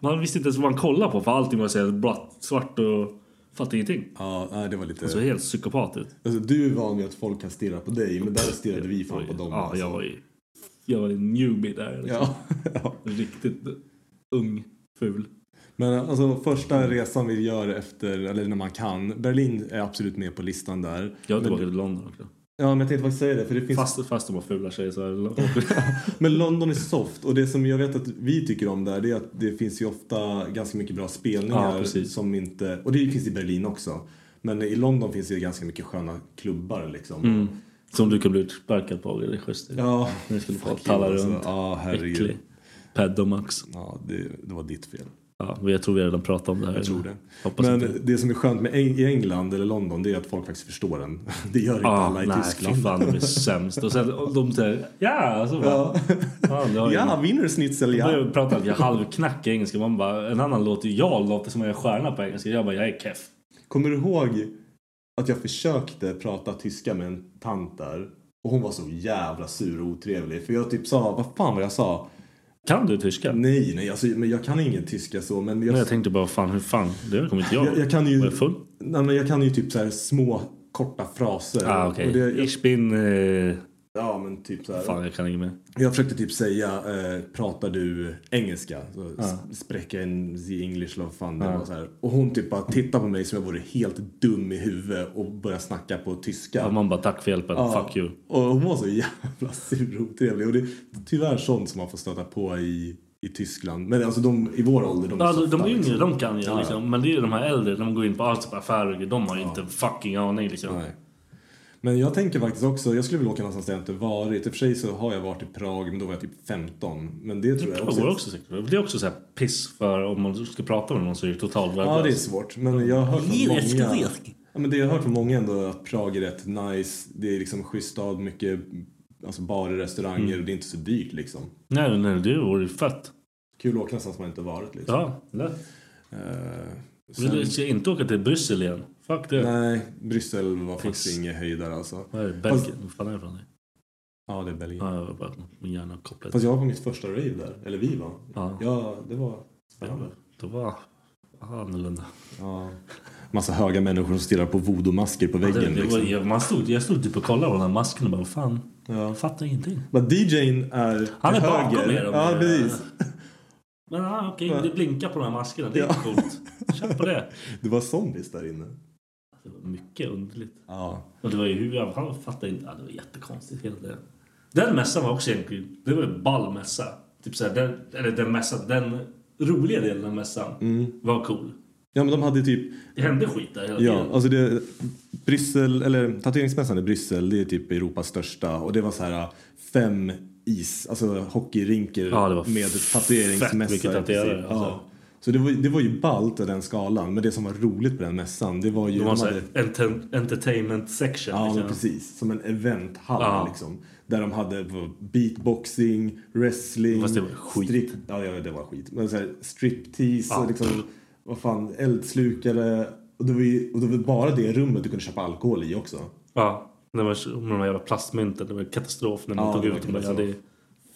Man visste inte ens vad man kollade på för allting var såhär blått, svart och fattade ingenting.
Ja, nej, det var lite...
Så
Alltså,
helt psykopat ut.
du är van vid att folk kan stirra på dig, men där stirrade vi fan på dem.
Ja,
alltså.
jag var ju... Jag var en newbie där. Liksom.
Ja, ja.
Riktigt ung, ful.
Men alltså första resan vi gör efter, eller när man kan. Berlin är absolut med på listan där.
Jag är
men,
tillbaka till London också.
ja, men jag tänkte faktiskt säga det, för det finns
Fast, fast de var fula tjejer så är det
Men London är soft och det som jag vet att vi tycker om där det är att det finns ju ofta ganska mycket bra
Ja,
spelningar
precis.
som inte, och det finns i Berlin också. Men i London finns det ju ganska mycket sköna klubbar liksom.
Mm. Som du kan bli utsparkad på. Det är schysst.
Ja,
När du skulle få
fuck
talla
you, alltså.
runt.
Ja, herregud.
Äcklig. Pedomax.
Ja, det, det var ditt fel.
Ja, men jag tror vi redan pratat om det här.
Jag tror det.
Hoppas
Men
inte.
det som är skönt med Eng- i England eller London det är att folk faktiskt förstår en. Det gör inte
Ja,
alla i
Ah, nej,
Tyskland.
fy fan de är sämst. Och sen och de säger ja, alltså, så bara. Ja. Fan, det har
Ja,
ja.
wienerschnitzel
Jag
ja.
började prata att jag halvknack i engelska. Man bara, en annan låter, jag låter som jag är stjärna på engelska. Jag bara, jag är keff.
Kommer du ihåg att jag försökte prata tyska med en tant där och hon var så jävla sur och otrevlig för jag typ sa, vad fan var jag sa?
Kan du tyska? Nej,
Nej, nej, alltså, men jag kan ingen tyska så men jag,
jag tänkte bara fan, hur fan? Det kommer inte jag
jag, jag kan ju,
Var jag full?
nej, men jag kan ju typ så här små korta fraser.
Ah, okej.
Och det- jag-
Ich bin... Eh,
Ja men typ så här.
fan, jag kan inget mer.
Jag försökte typ säga, eh, pratar du engelska? Så
Ah.
ja. Spräcka en the English eller vad fan det var så här. Och hon typ bara tittar på mig som jag vore helt dum i huvudet och börjar snacka på tyska.
Ja, man bara tack för hjälpen, fuck you.
Och hon var så jävla sur och otrevlig. Och det är tyvärr sånt som man får stöta på i, i Tyskland. Men alltså de i vår ålder, de är
Ja, Alltså, de,
softa,
de yngre
liksom.
de kan ju
Ja, ja.
liksom. Men det är ju de här äldre, de går in på allt på affärer. De har ju inte en fucking aning liksom.
Nej. Men jag tänker faktiskt också, jag skulle vilja åka någonstans där jag inte varit. I och för sig så har jag varit i Prag, men då var jag typ 15. Men det tror jag
Det
också...
går också säkert. Det är också så här piss för om man ska prata med någon så är det totalt
Ja, det är
värdelöst.
svårt. Men jag har hört från
Lyrisk,
många...
lyrisk.
Ja, men det jag har hört från många ändå är att Prag är rätt nice. Det är liksom schysst stad, mycket alltså barer, restauranger
Mm.
och det är inte så dyrt liksom.
Nej, nej, det vore ju fett.
Kul att åka någonstans man inte varit liksom.
Ja, lätt.
Eh,
Vill du
sen,
ska inte åka till Bryssel igen? Fuck det. Nej.
nej, Bryssel var
Piss.
faktiskt ingen höjdare alltså.
Vad är det?
Fast-
Belgien? Vad fan är det från?
Ja, det är Belgien.
Ja, jag var bara min hjärna kopplad.
Fast jag var på mitt första rave där. Eller vi var.
Ja.
Ja, det var spännande.
Det var annorlunda.
Ja. Massa höga människor som stirrar på voodoo-masker på
Det,
väggen.
det var,
liksom.
jag, man stod, jag stod typ och kollade på den här masken och bara fan,
ja.
jag fattar ingenting.
Men DJn är
Han är
till
bakom
höger.
er, om
Ja,
det-
precis.
Men ah, okej, det blinkar på de här maskerna. Det är
Ja.
coolt. Kör på det.
Det var zombies där inne.
Det var mycket underligt.
Ja.
Och det var ju hur jag han fattade inte. Ja, det var jättekonstigt. Hela det. Den mässan var också egentligen... Det var en ball mässa. Typ såhär, den, eller den mässan, den roliga delen av mässan var cool.
Ja men de hade typ,
Det hände skit där hela
Mm. ja
tiden.
alltså det, Bryssel, eller tatueringsmässan i Bryssel, det är typ Europas största och det var så här äh, fem is, alltså hockeyrinker
Ja, det var
med
fett mycket
tatueringsmässa. i
tatuerare,
princip.
alltså.
Ja. Så det var, det var ju ballt i den skalan, men det som var roligt på den mässan det var ju...
Det var en
de
sån
hade,
här enter, entertainment section.
ja men
liksom.
precis, som en eventhall
Ja.
liksom. Där de hade beatboxing, wrestling,
Fast det var skit.
strip- ja, ja det var skit. Men så här, striptease
Ja.
och liksom, vad fan, eldslukare. Och det, var ju, och det var bara det rummet du kunde köpa alkohol i också.
Ja, det var med de här jävla plastmynten. Det var katastrof när man
Ja,
tog
det var
ut dem. Jag hade
katastrof.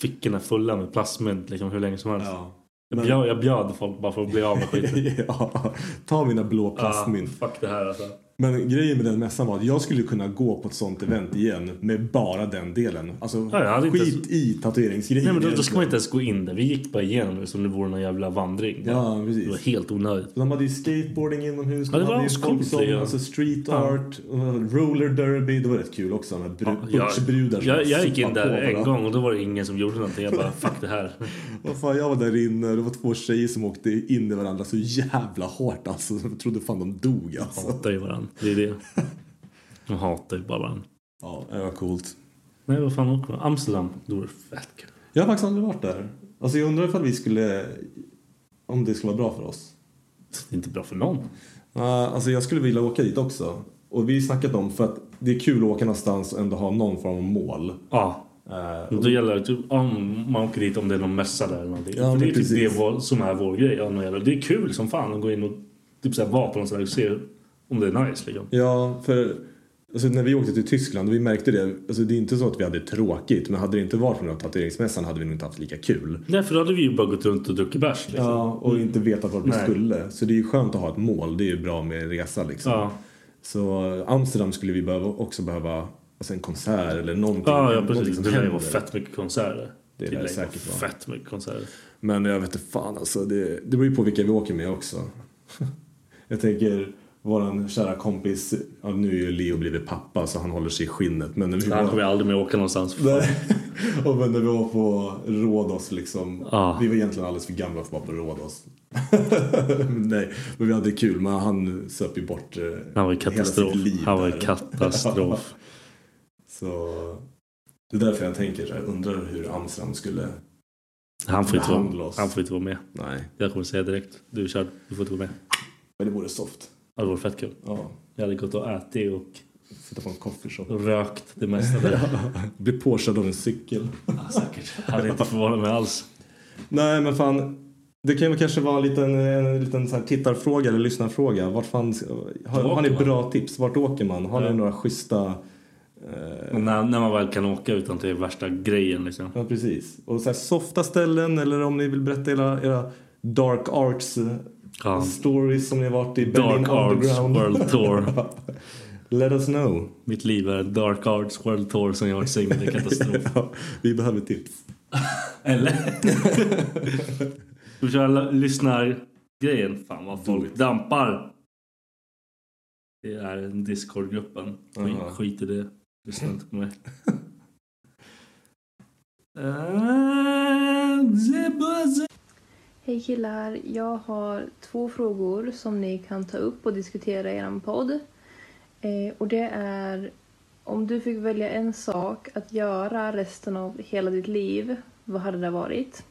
fickorna fulla med plastmynt liksom, hur länge som helst. jag,
men-
bjöd, jag bjöd folk bara för att bli av med skiten.
ja, ta mina blå plastmynt.
Ah, fuck det här alltså.
Men grejen med den mässan var att jag skulle kunna gå på ett sånt event igen med bara den delen. Alltså
Ja, jag hade inte
skit
ens-
i tatueringsgrejer.
Nej men då, då ska man inte ens gå in där. Vi gick bara igenom det som det vore någon jävla vandring.
Ja,
Det var
precis.
helt onödigt.
De hade ju skateboarding inomhus,
Ja, det
de
var
hade ju
ascoolt,
folk som,
ja.
alltså street
Fan.
art, och de hade roller derby, det var rätt kul också. Med bru-
Jag,
butchbrudar som
jag, jag gick in
sippade
där
på varandra.
en gång och då var det ingen som gjorde någonting. Jag bara fuck det här.
Vad fan, jag var där inne och det var två tjejer som åkte in i varandra så jävla hårt alltså. Jag trodde fan de dog
De
alltså.
hatar ju varandra. Det är det. De hatar ju bara varandra.
Ja, det var coolt.
Nej vad fan åker man? Amsterdam. Det vore fett kul.
Jag har faktiskt aldrig varit där. Alltså jag undrar ifall vi skulle, om det skulle vara bra för oss.
Det är inte bra för någon.
Uh, alltså jag skulle vilja åka dit också. Och vi har ju snackat om för att det är kul att åka någonstans och ändå ha någon form av mål.
Ja.
Eh,
Då gäller det typ om man åker dit om det är någon mässa där eller någonting.
Ja,
För
men
det är typ
precis.
det vår, som är vår grej. Ja, men Det är kul som fan att gå in och typ så här vara på någon sån här och se om det är nice liksom.
Ja, för alltså, när vi åkte till Tyskland och vi märkte det. Alltså, det är inte så att vi hade tråkigt, men hade det inte varit för den här tatueringsmässan hade vi nog inte haft lika kul.
Nej, för då hade vi ju bara gått runt och druckit bärs. Liksom.
Ja, och inte vetat vart vi
Nej.
skulle. Så det är ju skönt att ha ett mål. Det är ju bra med en resa liksom.
Ja.
Så eh, Amsterdam skulle vi behöva, också behöva alltså, en konsert eller någonting.
Ja, ja
någonting
precis.
som
Det lär ju
händer.
vara fett mycket konserter.
Det lär det
vara
säkert vara.
Fett mycket konserter.
Men jag vet inte fan alltså. Det, det beror ju på vilka vi åker med också. jag tänker våran kära kompis. Ja, nu är ju Leo blivit pappa så han håller sig i skinnet. Men när vi
Han
var,
kommer jag aldrig mer åka någonstans.
Nej. och men när vi var på Rhodos liksom.
Ja.
Vi var egentligen alldeles för gamla för att vara på Rhodos. Nej, men vi hade kul. Men han söp ju bort eh,
Han var ju
hela sitt
katastrof.
liv
Han var ju
där.
katastrof.
så det är därför jag tänker så här. Undrar hur Amsterdam skulle...
Han får, inte
Behandla
vara,
oss.
han får inte vara med.
Nej.
Jag kommer säga direkt. Du är körd. Du får inte vara med.
Men det vore soft.
Ja, Det vore fett kul.
Ja.
Jag hade gått och ätit och
Sitta på en coffeeshop.
rökt det mesta där.
Bli påkörd av en cykel.
Alltså. Ja, säkert. Hade inte förvånat mig alls.
Nej men fan. Det kan ju kanske vara en liten, en liten så här tittarfråga eller lyssnarfråga. Vart fan, har, har ni
Vart
bra tips? Vart åker man? Har ni några schyssta... eh,
Men när, när man väl kan åka utan att det är värsta grejen liksom.
Ja, precis. Och så här, softa ställen eller om ni vill berätta era, era dark arts eh,
Ja.
stories som ni har varit i Berlin
Dark Arts
Underground.
World Tour.
Let us know.
Mitt liv är en Dark Arts World Tour som jag har sänkt i katastrof.
Ja, vi behöver tips.
Eller? Ska vi köra la- lyssnargrejen? Fan vad
Mm.
folk dampar. Det är en Discord-gruppen. Skit,
Aha.
skit i det. Lyssna inte på mig. Eh, det buzz-
Hej killar, jag har två frågor som ni kan ta upp och diskutera i er podd. Eh, och det är om du fick välja en sak att göra resten av hela ditt liv, vad hade det varit?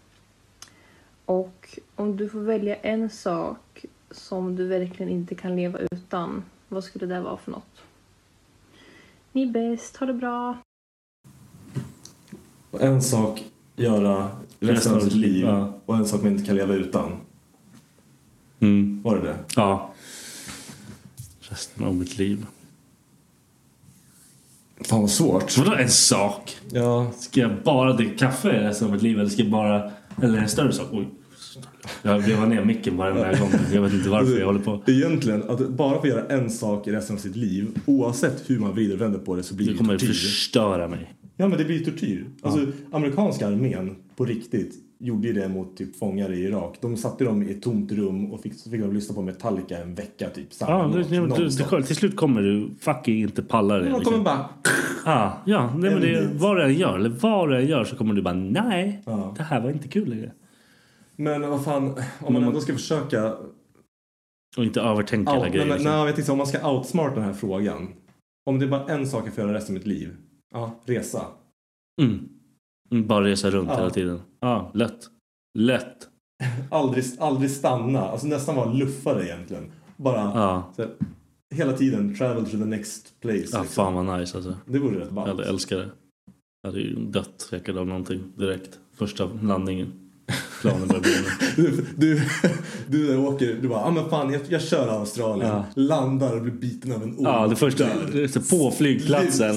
Och om du får välja en sak som du verkligen inte kan leva utan, vad skulle det vara för något? Ni är bäst, ha det bra!
Och En sak göra resten av sitt liv
Ja.
och en sak man inte kan leva utan.
Mm.
Var det det?
Ja. Resten av mitt liv.
Fan vad svårt.
Vadå en sak?
Ja,
Ska jag bara dricka kaffe resten av mitt liv eller ska jag bara... Eller en större sak? Oj. Jag vevar ner micken varenda gång. Jag vet inte varför jag håller på.
Egentligen, att bara få göra en sak i resten av sitt liv, oavsett hur man vrider och vänder på det så blir
Du
det
kommer
tortyr.
förstöra mig.
Ja men det blir tortyr. Alltså amerikanska armén, på riktigt, gjorde ju det mot typ fångar i Irak. De satte dem i ett tomt rum och fick, så fick de lyssna på Metallica en vecka typ. Samma
Ja, du,
låt,
du, du,
nonstop.
till slut kommer du fucking inte palla det.
De
Liksom.
kommer bara...
Ah, ja, nej, men det,
Ändligt.
vad du än gör, eller vad du än gör så kommer du bara nej,
Ja.
det här var inte kul längre.
Men vad fan, om man ändå ska försöka
Och inte övertänka
Out,
hela
nej,
grejen.
men,
liksom.
nej, jag tänkte, om man ska outsmarta den här frågan. Om det är bara en sak jag får göra resten av mitt liv. Ja, resa.
Mm. Mm, Bara resa runt
Ja.
hela tiden. Ja, lätt. Lätt.
Aldrig, aldrig stanna. Alltså nästan vara luffare egentligen. Bara
Ja.
så här, hela tiden travel to the next place.
Ah,
liksom.
fan vad nice alltså.
Det vore rätt
Jag hade
ballt.
älskat det. Jag hade ju dött säkert av någonting direkt. Första landningen. Planen började brinna.
Du, du, du där åker, du bara, ah, men fan jag, jag kör Australien.
Ja.
Landar och blir biten av en orm.
Ja, det första. så På flygplatsen.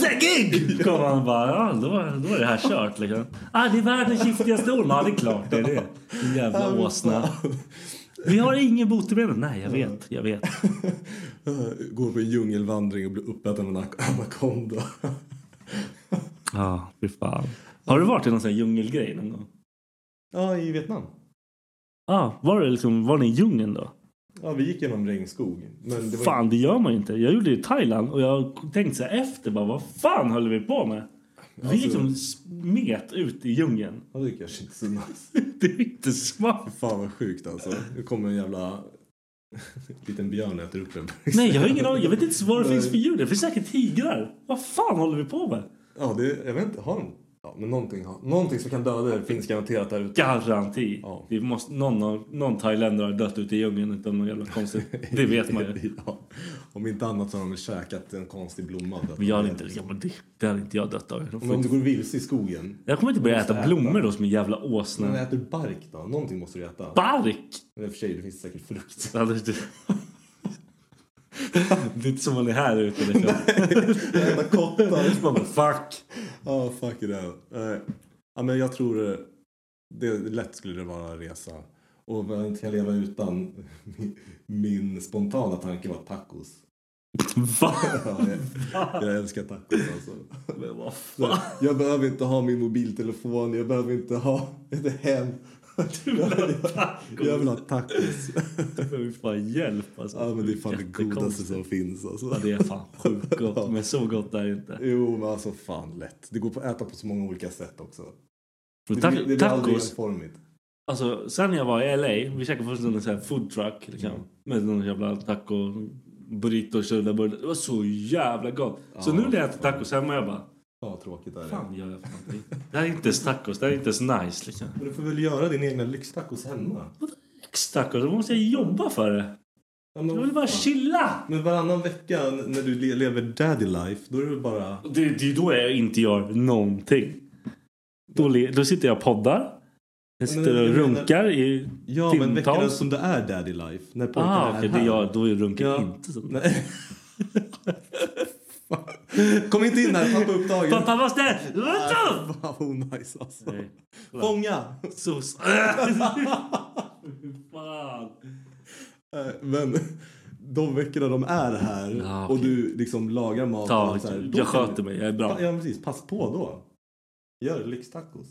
Zäggig! Kom han bara. Ja, då, var- då är det här kört liksom. Ah, det är världens giftigaste orm. Ja, det är klart det är det. Din
Ja, men
jävla åsna.
fan.
Vi har ingen botemedel. Nej, jag vet. Jag vet.
Går på en djungelvandring och blir uppäten av en ak- anakonda.
Ja, fy fan. Har du varit i någon sån här djungelgrej någon gång?
ja, i Vietnam.
Ah, var, det liksom, var ni i djungeln då?
Ja, vi gick genom regnskog. Men det var
Fan, det gör man ju inte. Jag gjorde det i Thailand och jag tänkte så här efter bara, vad fan höll vi på med? Vi
Alltså-
liksom smet ut i djungeln.
Ja, det är kanske inte så nice.
Det är inte smart.
Fan vad sjukt alltså. Nu kommer en jävla liten björn och äter upp en.
Nej, jag har ingen aning. Jag vet inte ens vad det finns för djur. Det finns säkert tigrar. Vad fan håller vi på med?
Ja, det, jag vet inte. Har de? Ja, men någonting, har- någonting som kan döda det finns garanterat där ute.
Garanti.
Ja.
Vi måste, någon, av- någon thailändare har dött ute i djungeln utan något jävla konstigt. Det vet man ju.
Ja. Om inte annat så har de väl käkat en konstig blomma.
Men jag hade inte, ja, men det, det hade inte jag dött av. Jag
Men om
får-
du går vilse i skogen,
Jag kommer inte börja
Måste
äta
äta.
blommor då som en jävla
men
åsna.
äter du bark då? Någonting måste du äta.
Bark!
Men i och för sig, det finns säkert frukt.
Ja, det, det. det är inte som man är här ute liksom.
Äta kottar.
Man bara, fuck!
Ja, fuck it out. Nej. Ja, men jag tror eh, det lätt skulle det vara att resa. Och vad jag inte kan leva utan min, min spontana tanke var tacos.
Va?
Ja, jag, jag älskar tacos alltså.
Men vad fan?
Nej, Jag behöver inte ha min mobiltelefon, jag behöver inte ha ett hem. Jag vill ha- jag vill ha tacos.
Du behöver fan hjälp alltså.
Ja, men det är fan det godaste
Jättekonstigt.
som finns alltså.
Ja, det är fan sjukt
Ja.
gott. Men så gott är det inte.
Jo, men alltså fan lätt. Det går på att äta på så många olika sätt också.
Men
Det, blir-
ta-
det blir aldrig
tacos.
enformigt.
Alltså, sen jag var i LA, vi käkade först en sån här food truck liksom,
Mm.
med någon jävla taco, burrito, köttbullar. Det var så jävla gott. Så
Ja,
nu när jag äter tacos hemma, jag bara,
Ja, tråkigt är det.
fan gör jag för någonting? Det här är inte ens tacos, det här är inte ens nice liksom.
Men du får väl göra din egna lyxtacos hemma?
Stackars, då måste jag jobba för det.
Ja, men,
Jag vill bara chilla!
men varannan vecka n- när du le- lever daddy life, då är det bara...
Det, det är då jag inte gör någonting. Då, le- då sitter jag och poddar. Den
Men-
sitter och
jag menar-
runkar i
Ja, men veckan
timtals.
som det är daddy life. När pojkarna
Ah,
är
okej, det
här.
är jag, då är runkar
Ja.
inte så.
Nej. Fan. Kom inte in här, pappa är upptagen. Ah,
Pappa, vad snäll! Vänta!
Fan vad onajs alltså.
Nej.
Fånga!
Sos. Fan.
Eh, Men de veckorna de är här
Ja,
och du liksom lagar mat.
Ta,
och så här, då
jag
kan
sköter mig, jag är bra.
Pa- Ja, precis. Pass på då. Gör lyxtacos.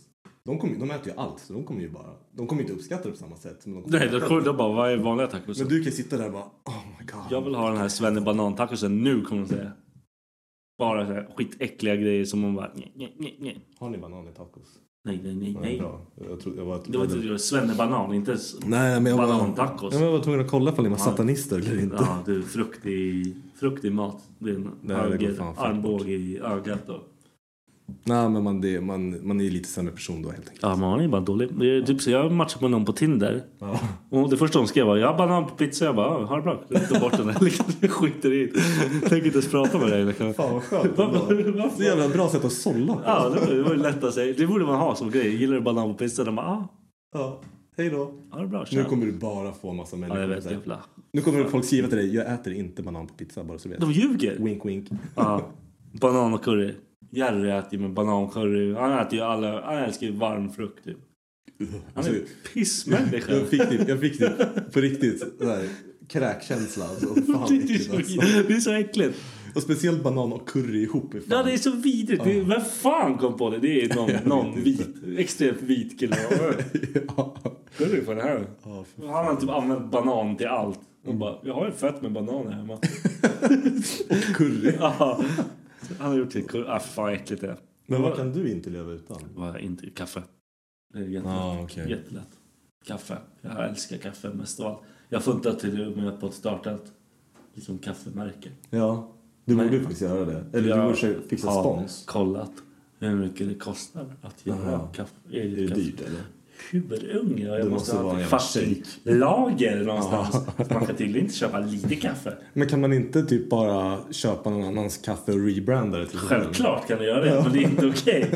De, kommer, de äter ju allt, så de kommer ju bara... De kommer inte uppskatta det på samma sätt. Men, de kommer,
Nej, då kommer de bara, vad är vanliga tacos?
men du kan sitta där och bara... Oh my god.
Jag vill ha den här svennebanantacosen nu kommer de säga. Bara så här skitäckliga grejer som man bara... Nej, nej, nej, nej,
Har ni banan i tacos?
nej, nej, nej.
Nej.
nej.
Bra. Jag trodde... Jag var,
Det var inte det var svennebanan, inte... s-
Nej, men jag var...
Banantacos.
Ja, men jag var tvungen att kolla ifall ni var
Ja.
satanister eller inte.
Ja, du, frukt i, frukt i mat. Det är en
Nej, det går
höger
fan fort bort.
armbåge i ögat. Och.
Nej, men man, det, man, man är ju lite sämre person då helt enkelt.
Ja, man är bara dålig. Det är typ så jag matchade med någon på Tinder.
Ja.
Och det första hon skrev var jag har banan på pizza. Jag bara, "Ja, ha det bra. Jag tar bort den här. Liksom, jag skiter i det. Tänker inte ens prata med dig. Liksom.
Fan vad skönt.
Varför?
Så jävla bra sätt att sålla på.
Ja, det var, det var ju lätt att säga. Det borde man ha som grej. Gillar du banan på pizza? De bara, ah,
Ja. Hej då.
ha det bra. Tja.
Nu kommer du bara få massa människor.
Ja, jag vet.
som säger,
Jävla.
Nu kommer folk skriva till dig, jag äter inte banan på pizza bara så du vet.
De ljuger.
Wink wink.
Ja. Banan och curry. Jerry äter ju med banancurry. Han äter ju alla. Han älskar ju varm frukt. Typ.
Alltså,
Han är ju pissmänniska.
Jag fick typ, jag fick typ på riktigt så här, kräkkänsla. Alltså, fan
Det är,
äckligt,
så,
alltså.
det är så äckligt.
Och speciellt banan och curry ihop. är fan-
Ja, det är så vidrigt. Det är, vem fan kom på det? Det är någon, någon vit, extremt vit kille.
ja.
Vad är det för det här?
Ja, för Mm.
Han har typ använt banan till allt. Och bara, jag har ju fett med bananer hemma.
Curry.
Ja. Han har gjort till kurv. Ah, fan vad äckligt det är.
Men vad kan du inte leva utan?
Vad jag inte, kaffe. Det är jättelätt.
Ja, Ah, okej.
jättelätt. Kaffe. Jag älskar kaffe mest av allt. Jag funtar till och med på att starta ett liksom, kaffemärke.
Ja. Du
Nej.
borde ju faktiskt göra det. Eller
Jag
du borde fixa
har
spons.
kollat hur mycket det kostar att göra
Jaha.
kaffe.
Är det dyrt eller?
Huvudung. Ja, jag
Det
måste
måste vara
ha
en
ett
jävla
fucking lager någonstans. Man kan tydligen inte köpa lite kaffe.
Men kan man inte typ bara köpa någon annans kaffe och rebranda det till sig själv?
Självklart kan du göra det, men det är inte okej.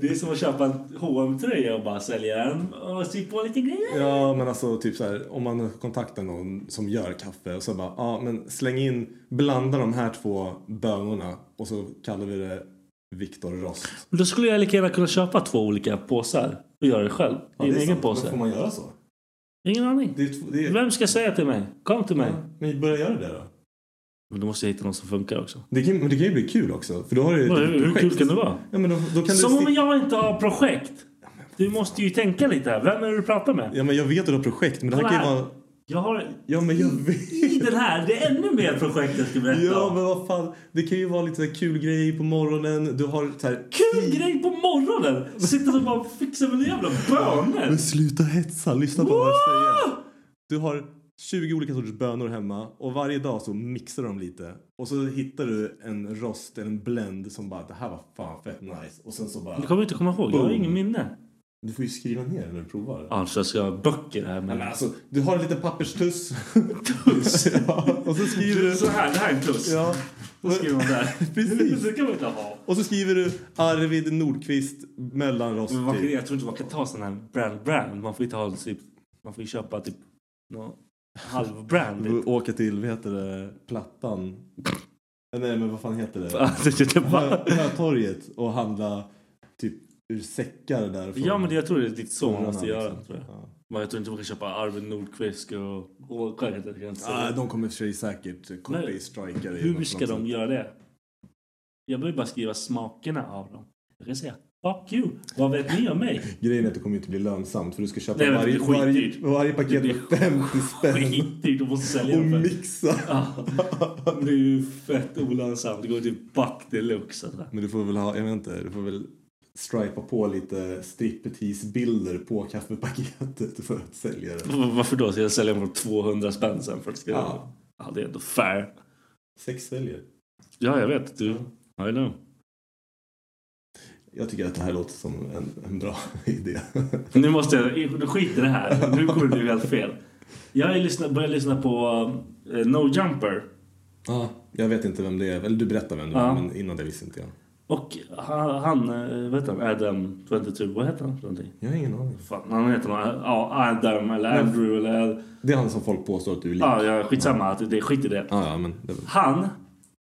Det är som att köpa en hm tröja och bara sälja den och sy på lite grejer.
Ja, men alltså typ så här, om man kontaktar någon som gör kaffe och så bara, ja men släng in, blanda de här två bönorna och så kallar vi det Viktor Rost.
Men då skulle jag lika gärna kunna köpa två olika påsar och göra det själv. I en egen
Får
påse.
man göra så?
Ingen aning.
Det är, två- det är,
Vem ska säga till mig? Kom till mig.
men börja göra det då.
Men då måste jag hitta någon som funkar också.
Det kan, men det kan ju bli kul också, för då har du ju
Hur,
ett
hur
projekt.
kul kan det vara?
Ja, men då, då kan
Som
du
om
sticka-
jag inte har projekt. Du måste ju tänka lite här. Vem är det du pratar med?
Ja, men jag vet att du har projekt, men det här
Kolla
kan ju
här.
vara...
Jag har...
Ja, men jag vet.
I den här, det är ännu mer projekt jag ska berätta
Ja,
om.
men vad fan. Det kan ju vara lite så här kul grejer på morgonen. Du har så här...
Kul grej på morgonen! Sitter och bara fixar med jävla bönor.
Men sluta hetsa, lyssna på vad jag säger. Du har 20 olika sorters bönor hemma och varje dag så mixar du dem lite. Och så hittar du en rost, en blend som bara det här var fan fett nice. Och sen så bara...
Det kommer jag inte komma ihåg. Jag har
Boom.
ingen minne.
Du får ju skriva ner när du provar.
Ja, så jag ska ha böcker här
Nej, men
med.
alltså, du har en liten papperstuss. ja, och så skriver du...
Så här, det här är en plus.
Ja.
Då skriver man där.
Precis.
Det kan man inte ha.
Och så skriver du Arvid Nordqvist mellanrost.
Men man kan,
typ.
jag tror inte man kan ta sån här brand brand. Man får inte ha typ... Man får ju köpa typ... Någon typ. halvbrand.
Du åker till, vad heter det, Plattan? Nej men vad fan heter det?
Ja, det- det bara-
Hötorget och handla typ ur säckar där. från-
Ja, men det, jag tror det är ditt son måste göra.
liksom.
Tror jag.
Ja.
Men jag tror inte man kan köpa Arvid Nordqvist och... och jag kan inte
Ah,
säga.
de kommer i och för sig säkert
Men
copy-strika dig
Hur
något
ska de
sätt.
göra det? Jag behöver bara skriva smakerna av dem. Jag kan säga Fuck you! Vad vet ni om mig?
Grejen är att det kommer inte bli lönsamt för du ska köpa
Nej, men det
varje,
blir
varje,
skitdyrt.
varje
Det
paket
blir
för 50 spänn
Skitdyrt, de måste sälja
och
dem för...
mixa.
Ja, det är ju fett olönsamt. Det går typ back deluxe. Alltså.
Men du får väl ha, jag vet inte, du får väl stripa på lite striptease-bilder på kaffepaketet för att sälja det.
V- Varför då? Ska jag sälja dem för 200 spänn sen? För att skriva? Ja.
Ja.
ja, det är ändå fair.
Sex säljer.
Ja, jag vet. Du, I know.
Jag tycker att det här låter som en, en bra idé.
Nu måste jag... Nu skiter det här. Nu kommer det bli helt fel. Jag har ju lyssnat- börjat lyssna på eh, No Jumper.
Ja, jag vet inte vem det är. Eller du berättar vem det är,
Ja.
men innan det visste inte jag.
Och han, han eh, vad heter han? Adam 22, vad heter han för någonting?
Jag har ingen aning.
Fan, han heter någon, ja, Adam eller
Men-
Andrew eller...
Det är han som folk påstår att du är lik.
Ja, ja, skitsamma. att Det, skit i det.
Ja, ja, men det är väl-
Han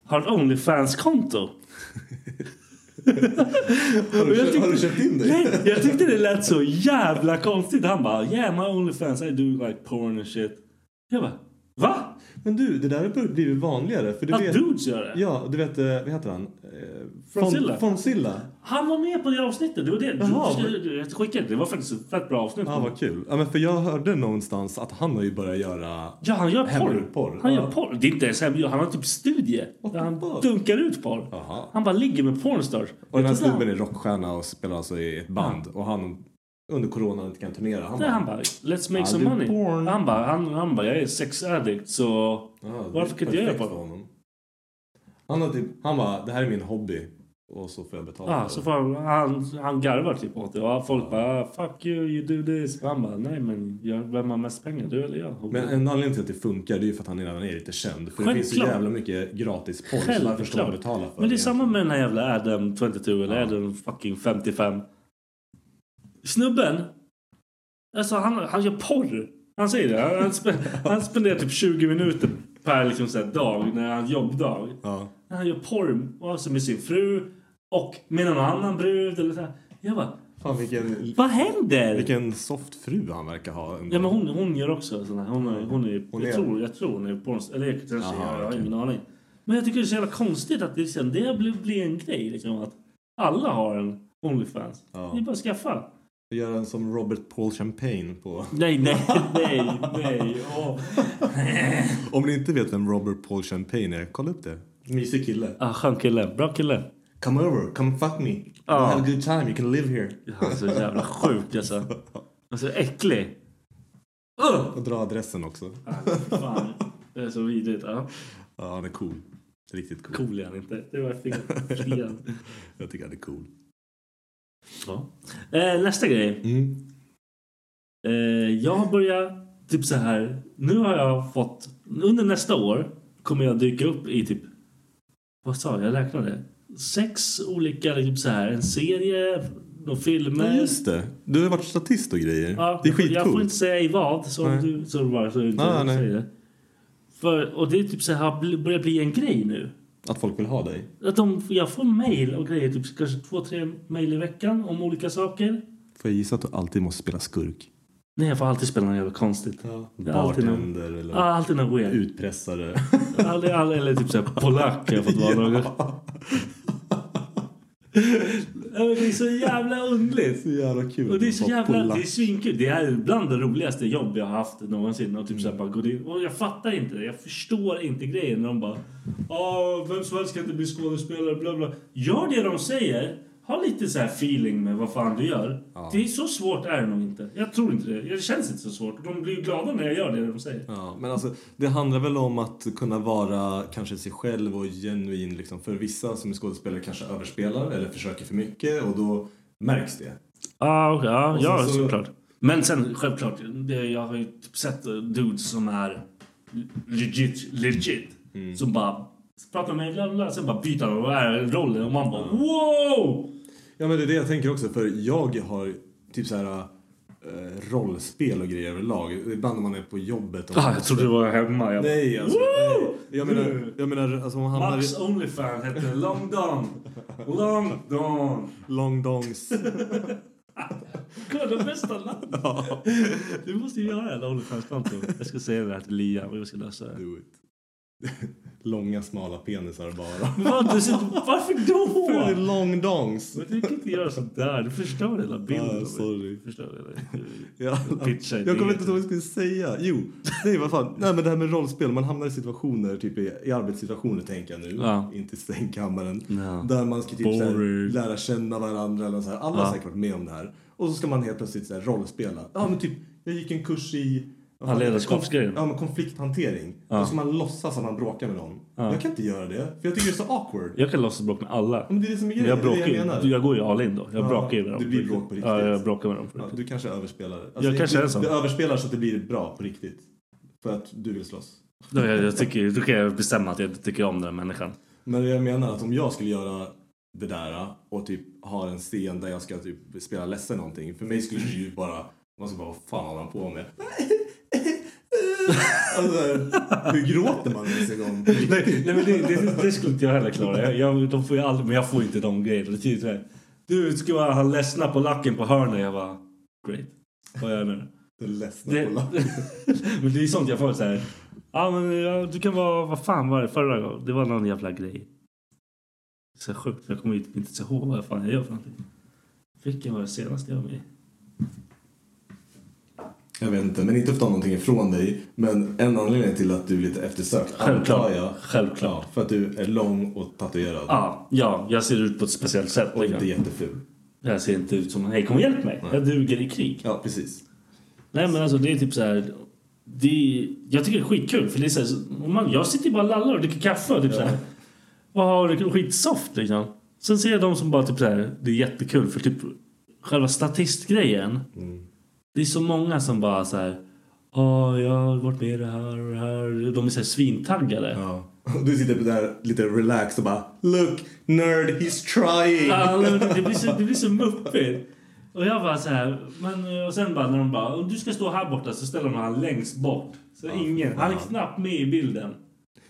har ett Onlyfans-konto. Och jag
Har du
tyckte,
köpt in dig?
nej, jag tyckte det lät så jävla konstigt. Han bara yeah my Onlyfans I do like porn and shit. Jag bara va?
Men du, det där har blivit vanligare. För du
Att
vet,
dudes gör det?
Ja, du vet, eh, vad heter han? Eh,
Fonsilla.
Fon- Fonsilla.
Han var med på det avsnittet. Det var det.
Jaha.
Du, du, jag skickade det. Det var faktiskt ett fett bra avsnitt.
Ja, vad kul. Ja, men för jag hörde någonstans att han har ju börjat göra...
Ja, han gör porr.
Hemlig porr.
Han
Ja.
gör porr. Det är inte ens hemlig. Han har typ studie.
What
Där
the
han
fuck?
dunkar ut porr.
Jaha.
Han bara ligger med pornstars.
Och den här
Jag trodde
snubben är rockstjärna och spelar alltså i ett band. Och han under corona inte kan turnera. Han
Nej,
bara...
han bara, let's make
Ja,
some
det är
money.
porn.
Han bara, han, han bara, jag är sex addict så...
Ja, det är
Varför kan inte jag göra
perfekt
det?
för honom? Han, har typ, han bara, det här är min hobby. Och så får jag betala.
Ah, så får han, han, han garvar typ åt det. Och folk bara, ah, fuck you, you do this. Och han bara, nej men jag, vem har mest pengar? Du eller jag?
Men en anledning till att det funkar det är ju för att han redan är lite känd. För det finns så
Självklart.
jävla mycket gratis porr. Så varför ska man
Självklart.
betala för
Men det är
det?
samma med den här jävla Adam 22 eller Adam fucking 55. Snubben, alltså han, han gör porr. Han säger det. Han, han, spe, han spenderar typ 20 minuter per liksom så här dag, när han jobbdag.
Ja.
När han gör porr alltså med sin fru och med någon annan brud. Eller så här. Jag bara,
Fan vilken,
vad händer?
vilken soft fru han verkar ha. ändå.
Ja, men hon, hon gör också sådana här. Hon är, hon är,
Hon är-
jag, tror, jag tror hon är pornst... Eller jag kanske
Aha,
gör det, jag har
okej.
ingen aning. Men jag tycker det är så jävla konstigt att det, sen, det blir, blir en grej. Liksom, att alla har en Onlyfans.
Ja.
Det är bara att skaffa.
Gör den som Robert Paul Champagne på...
Nej, nej, nej, nej. Åh.
Om ni inte vet vem Robert Paul Champagne är, kolla upp det. Mysig kille.
Ah, skön kille. Bra kille.
Come over, come fuck me. We'll
Ja.
Have a good time, you can live here.
Han är så jävla sjuk alltså. Han är så äcklig. Uh!
Och dra adressen också.
Fan. Det är så vidrigt. Ja.
Ja, han är cool. Riktigt cool.
Cool är han inte. Det var fint. Fint.
Jag tycker han är cool.
Ja. Eh, nästa grej.
Mm.
Eh, jag börjar typ så här. Nu har jag fått... Under nästa år kommer jag dyka upp i typ... Vad sa jag? Jag räknade. Sex olika, liksom så här, en serie, några filmer.
Ja, just det. Du har ju varit statist och grejer.
Ja,
det är
jag får- Jag får
skitcoolt.
inte säga i vad, så om
Nej.
du så bara så du inte
Nej, nej.
säger det. För, och det är typ så här, har bl- börjar bli en grej nu.
Att folk vill ha dig.
Att de, jag får mejl och grejer, typ kanske två, tre mejl i veckan om olika saker.
Får jag gissa att du alltid måste spela skurk?
Nej, jag får alltid spela något jävla konstigt.
Ja.
Det är alltid någon-
Bartender eller
Ja, alltid något weird.
utpressare.
Aldrig, aldrig, eller typ såhär polack har jag fått vara någon gång.
ja.
Ja, men Det är så jävla underligt.
Så jävla kul.
Och det är så
Bara
jävla,
pulla.
det är svinkul. Det är bland det roligaste jobb jag har haft någonsin. Och typ så här bara går in. Och jag fattar inte det. Jag förstår inte grejen när de bara... Ja, vem som helst kan inte bli skådespelare, bla bla. Gör det de säger. Ha lite så här feeling med vad fan du gör. Det är så svårt är det nog inte. Jag tror inte det. Det känns inte så svårt. Och de blir ju glada när jag gör det de säger.
Ja, men alltså, det handlar väl om att kunna vara kanske sig själv och genuin. Liksom. För vissa som är skådespelare kanske överspelar eller försöker för mycket och då märks det.
Ah, okay. Ja,
Och sen
ja
så-
såklart. Men sen självklart, det, jag har ju typ sett eh, dudes som är legit, legit. Som bara pratar med bla, bla, bla, sen bara byter de och är rollen och man bara wow!
Ja, men det är det jag tänker också. För jag har typ så här eh, rollspel och grejer överlag. Ibland när man är på jobbet. Och
Ah, jag trodde du var hemma. Jag...
Nej, alltså.
Woo!
Nej. Jag menar, jag menar alltså, om man hamnar
Max
i
Onlyfans hette Long Don. Long Don.
long dongs.
Kolla, det bästa namnet. Du måste ju göra en Onlyfans-konto. Jag ska säga det här till Lia och vi ska lösa det.
Do it. Långa smala penisar bara.
Vad, du ser- Varför då?
För det är long dongs.
Men du kan inte göra sådär. Du förstör hela bilden.
Ah, sorry.
Du förstör hela.
Ja,
Pitcha idéer.
jag kommer inte ihåg vad jag skulle säga. Jo, nej vad fan. Nej men det här med rollspel. Man hamnar i situationer, typ i, i arbetssituationer tänker jag nu.
Ja.
Inte i sängkammaren.
Ja.
Där man ska typ så här,
Boring.
lära känna varandra eller så här. Alla har säkert varit med om det här. Och så ska man helt plötsligt så här, rollspela. Ja men typ, jag gick en kurs i... vad
Ja,
fan,
ledarskapsgrejen.
Ja men konflikthantering. Då ska man låtsas att man bråkar med någon. Jag kan inte göra det. För jag tycker det är så awkward.
Jag kan låtsas bråka med alla.
Men det är det som är grejen,
jag,
det är det
bråkar,
jag menar.
ju- jag går ju all in då. Jag
Ja,
bråkar ju med dem.
det blir bråk på riktigt.
Ja, jag bråkar med dem. På
Ja,
riktigt.
du kanske överspelar. Alltså,
Jag kanske
du,
är sån.
Du överspelar så att det blir bra på riktigt. För att du vill slåss.
Då, jag, jag tycker, då kan jag bestämma att jag inte tycker om den här människan.
Men jag menar att om jag skulle göra det där och typ har en scen där jag ska typ spela ledsen någonting. För mig skulle det ju bara, man skulle bara, vad fan håller han på med? alltså, hur gråter man ens en gång?
Nej, nej men det, det, det skulle inte jag heller klara. Jag, jag, de får ju aldrig, men jag får inte de grejerna. Det är typ så här, du ska vara han ledsna på lacken på hörnet. Jag bara, great. Vad gör jag nu?
Den ledsna
Det,
på lappen.
men det är sånt jag får så här. Ja men ja, du kan vara, vad fan var det förra gången? Det var någon jävla grej. Så sjukt, jag kommer inte inte ihåg vad fan jag gör för någonting. Vilken var det senaste jag var med i?
Jag vet inte, men inte för att ta någonting ifrån dig. Men en anledning till att du är lite eftersökt
Självklart.
antar jag.
Självklart.
Ja, För att du är lång och tatuerad.
Ja, ja, jag ser ut på ett speciellt sätt.
Och inte
liksom.
jätteful.
Jag ser inte ut som hej kom och hjälp mig. Jag duger i krig.
Ja, precis.
Nej men alltså det är typ så här. Det är, jag tycker det är skitkul för det är så här, man, jag sitter ju bara och lallar och dricker kaffe och typ så här. Och har skitsoft liksom. Sen ser jag de som bara typ så här. Det är jättekul för typ själva statistgrejen. Det är så många som bara så här. Ja, jag har varit med i det här och det här. De är så här svintaggade.
Ja. Och Du sitter där lite relaxed och bara Look, nerd, he's trying!
Ja, men det, blir så, det blir så muppigt. Och jag bara så här, men, och sen bara när de bara, "Om du ska stå här borta så ställer de han längst bort. Så ingen, han är knappt med i bilden.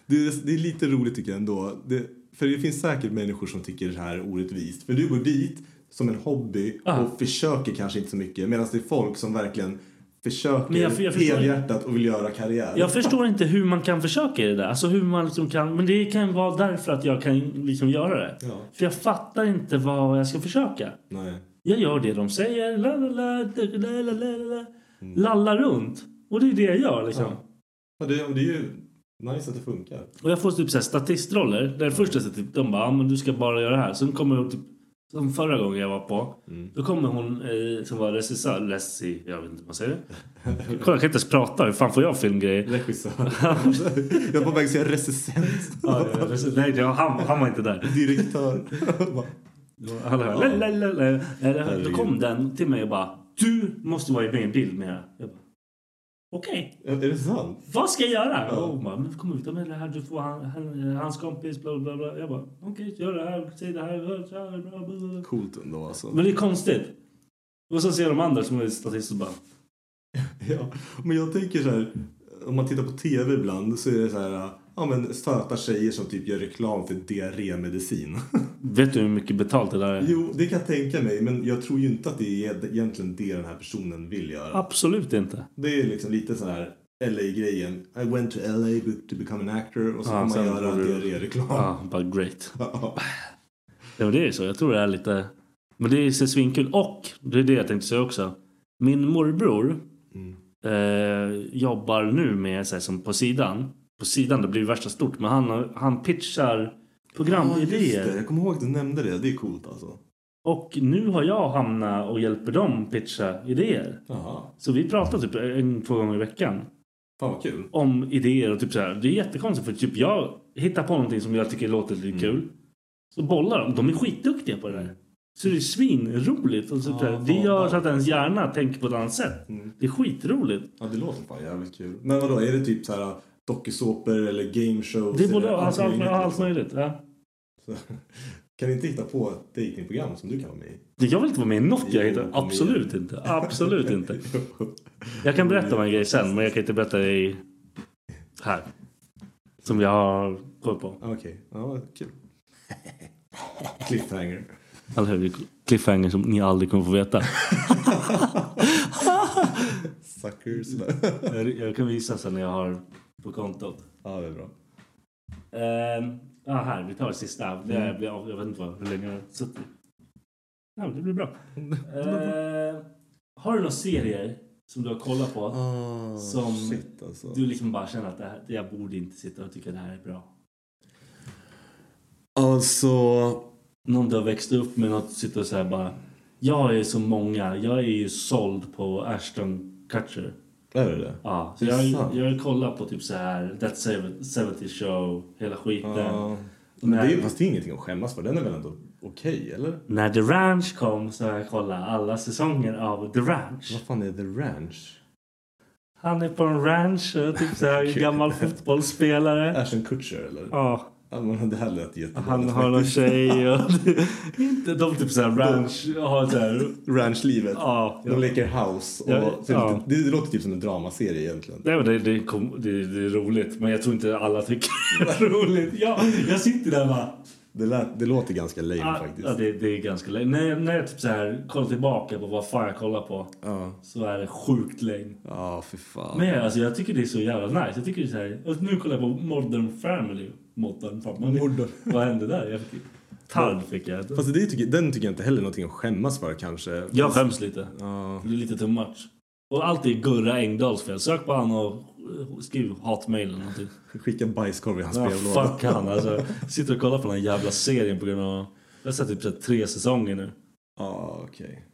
Det är, det är lite roligt tycker jag ändå. Det, för det finns säkert människor som tycker det här är orättvist. För du går dit som en hobby
Ah.
och försöker kanske inte så mycket. Medan det är folk som verkligen försöker
Men jag- jag förstår-
helhjärtat och vill göra karriär.
Jag förstår inte hur man kan försöka i det där. Alltså hur man liksom kan, men det kan vara därför att jag kan liksom göra det.
Ja.
För jag fattar inte vad jag ska försöka.
Nej.
Jag gör det de säger, la la la, da, la la la la, la. Lallar runt. Och det är det jag gör liksom.
Ja, det, det är ju nice att det funkar.
Och jag får typ så här statistroller. Där det första så typ, de bara, ja, men du ska bara göra det här. Sen kommer hon typ, som förra gången jag var på. Då kommer hon eh, som var regissör, regi, jag vet inte vad man säger. Kolla, jag kan inte ens prata. Hur fan får jag filmgrejer?
Regissör. jag är på väg att säga recensent.
Ja, eh, regi- Nej, det var, han, han var inte där.
Direktör.
Han hör, la, la, la, la. Eller, Då kom den till mig och bara, du måste vara med i en bild med det. Jag bara, Okej,
är det sant?
vad ska jag göra? Ja. hon bara, men kom ut med det här, du får han, han, hans kompis, bla bla bla. Jag bara, okej, gör det här, säg det här, hör så här, bla bla bla.
Coolt ändå alltså.
Men det är konstigt. Och så ser de andra som är statister och bara...
Ja, men jag tänker så här, om man tittar på tv ibland så är det så här, ja men söta tjejer som typ gör reklam för diarrémedicin.
Vet du hur mycket betalt det där är?
jo, det kan jag tänka mig, men jag tror ju inte att det är egentligen det den här personen vill göra.
Absolut inte.
Det är liksom lite så här LA-grejen. I went to LA to become an actor och så
Ja,
får
sen
man göra
får du-
diarréreklam.
Ja,
Ja.
Ah, bara great. Ja, men det är så. Jag tror det är lite... Men det är så svinkul. Och, det är det jag tänkte säga också. Min morbror
Mm.
eh, jobbar nu med, så här, som på sidan. På sidan, det blir värsta stort. Men han, han pitchar programidéer.
det. Jag kommer ihåg att du nämnde det. Det är coolt alltså.
och nu har jag hamnat och hjälper dem pitcha idéer.
Jaha,
Så vi pratar typ en, två gånger i veckan.
fan vad kul.
om idéer och typ så här. Det är jättekonstigt för typ jag hittar på någonting som jag tycker låter lite kul. Så bollar de. De är skitduktiga på det där. Så det är svinroligt. Och så typ så här, det gör så att ens hjärna tänker på ett annat sätt. Det är skitroligt.
Ja, det låter fan jävligt kul. Men vadå, är det typ så här dokusåpor eller game shows?
Det är
eller
både allt,
allting
allt,
liksom?
allt möjligt. Ja.
Kan vi inte hitta på ett datingprogram som du kan vara med i?
Det- Jag vill inte vara med i något jag
Jo,
hittar.
kom
Absolut inte. Absolut inte. Jag kan berätta om en grej sen men jag kan inte berätta det i... här. Som jag har koll på.
Okej, ja, vad kul. Cliffhanger.
Eller hur? Cliffhanger som ni aldrig kommer få veta.
Suckers.
Jag, jag kan visa sen när jag har på kontot.
ja, det är bra.
Ehm, Ja, här. Vi tar det sista. Det här blir, jag vet inte vad, hur länge jag har suttit. Ja, men det blir bra. Ehm, har du några serier som du har kollat på som
Shit alltså.
du liksom bara känner att det här, jag borde inte sitta och tycka det här är bra?
Alltså,
Någon du har växt upp med, något sitter och säger bara jag är så många, jag är ju såld på Ashton Kutcher.
är det det?
Ja, så
Det är
jag,
sant.
jag kollar på typ så här That 70 Show, hela skiten.
Ja. Men det är, fast det är ingenting att skämmas för. Den är väl ändå okej, eller?
När The Ranch kom så har jag kollat alla säsonger av The Ranch.
Vad fan är The Ranch?
Han är på en ranch, och typ så här, gammal fotbollsspelare.
Ashton Kutcher, eller?
Ja.
Ja, men det här lät jättebra.
Han har någon tjej och... Inte de typ såhär ranch... Har såhär...
Ranchlivet.
Ja.
De leker house. Och,
Ja,
så
ja.
Det, det låter typ som en dramaserie egentligen.
Nej, men det, det, kom, det, det är roligt, men jag tror inte alla tycker det är roligt. Jag, jag sitter där och bara...
Det, lät, det låter ganska lame
ah,
faktiskt.
Ja, det, det är ganska lame. När, när jag typ så här, kollar tillbaka på vad fan jag kollar på så är det sjukt lame.
Ja, för fan.
Men alltså, jag tycker det är så jävla nice. Jag tycker det är så här, och nu kollar jag på Modern Family. Modern Family.
Modern.
Vad hände där? Jag fick, tard fick jag.
Fast det tycker, den tycker jag inte heller är någonting att skämmas för kanske.
Jag skäms lite.
Ja.
Det blir lite too much. Och allt är Gurra Engdahls fel. Sök på han och eh, skriv hatmail eller någonting.
Skicka bajskorv i hans
Ja,
brevlåda.
fuck han alltså. Sitter och kollar på den här jävla serien på grund av... Jag har sett typ så här tre säsonger nu. Mm.
Ja, okej.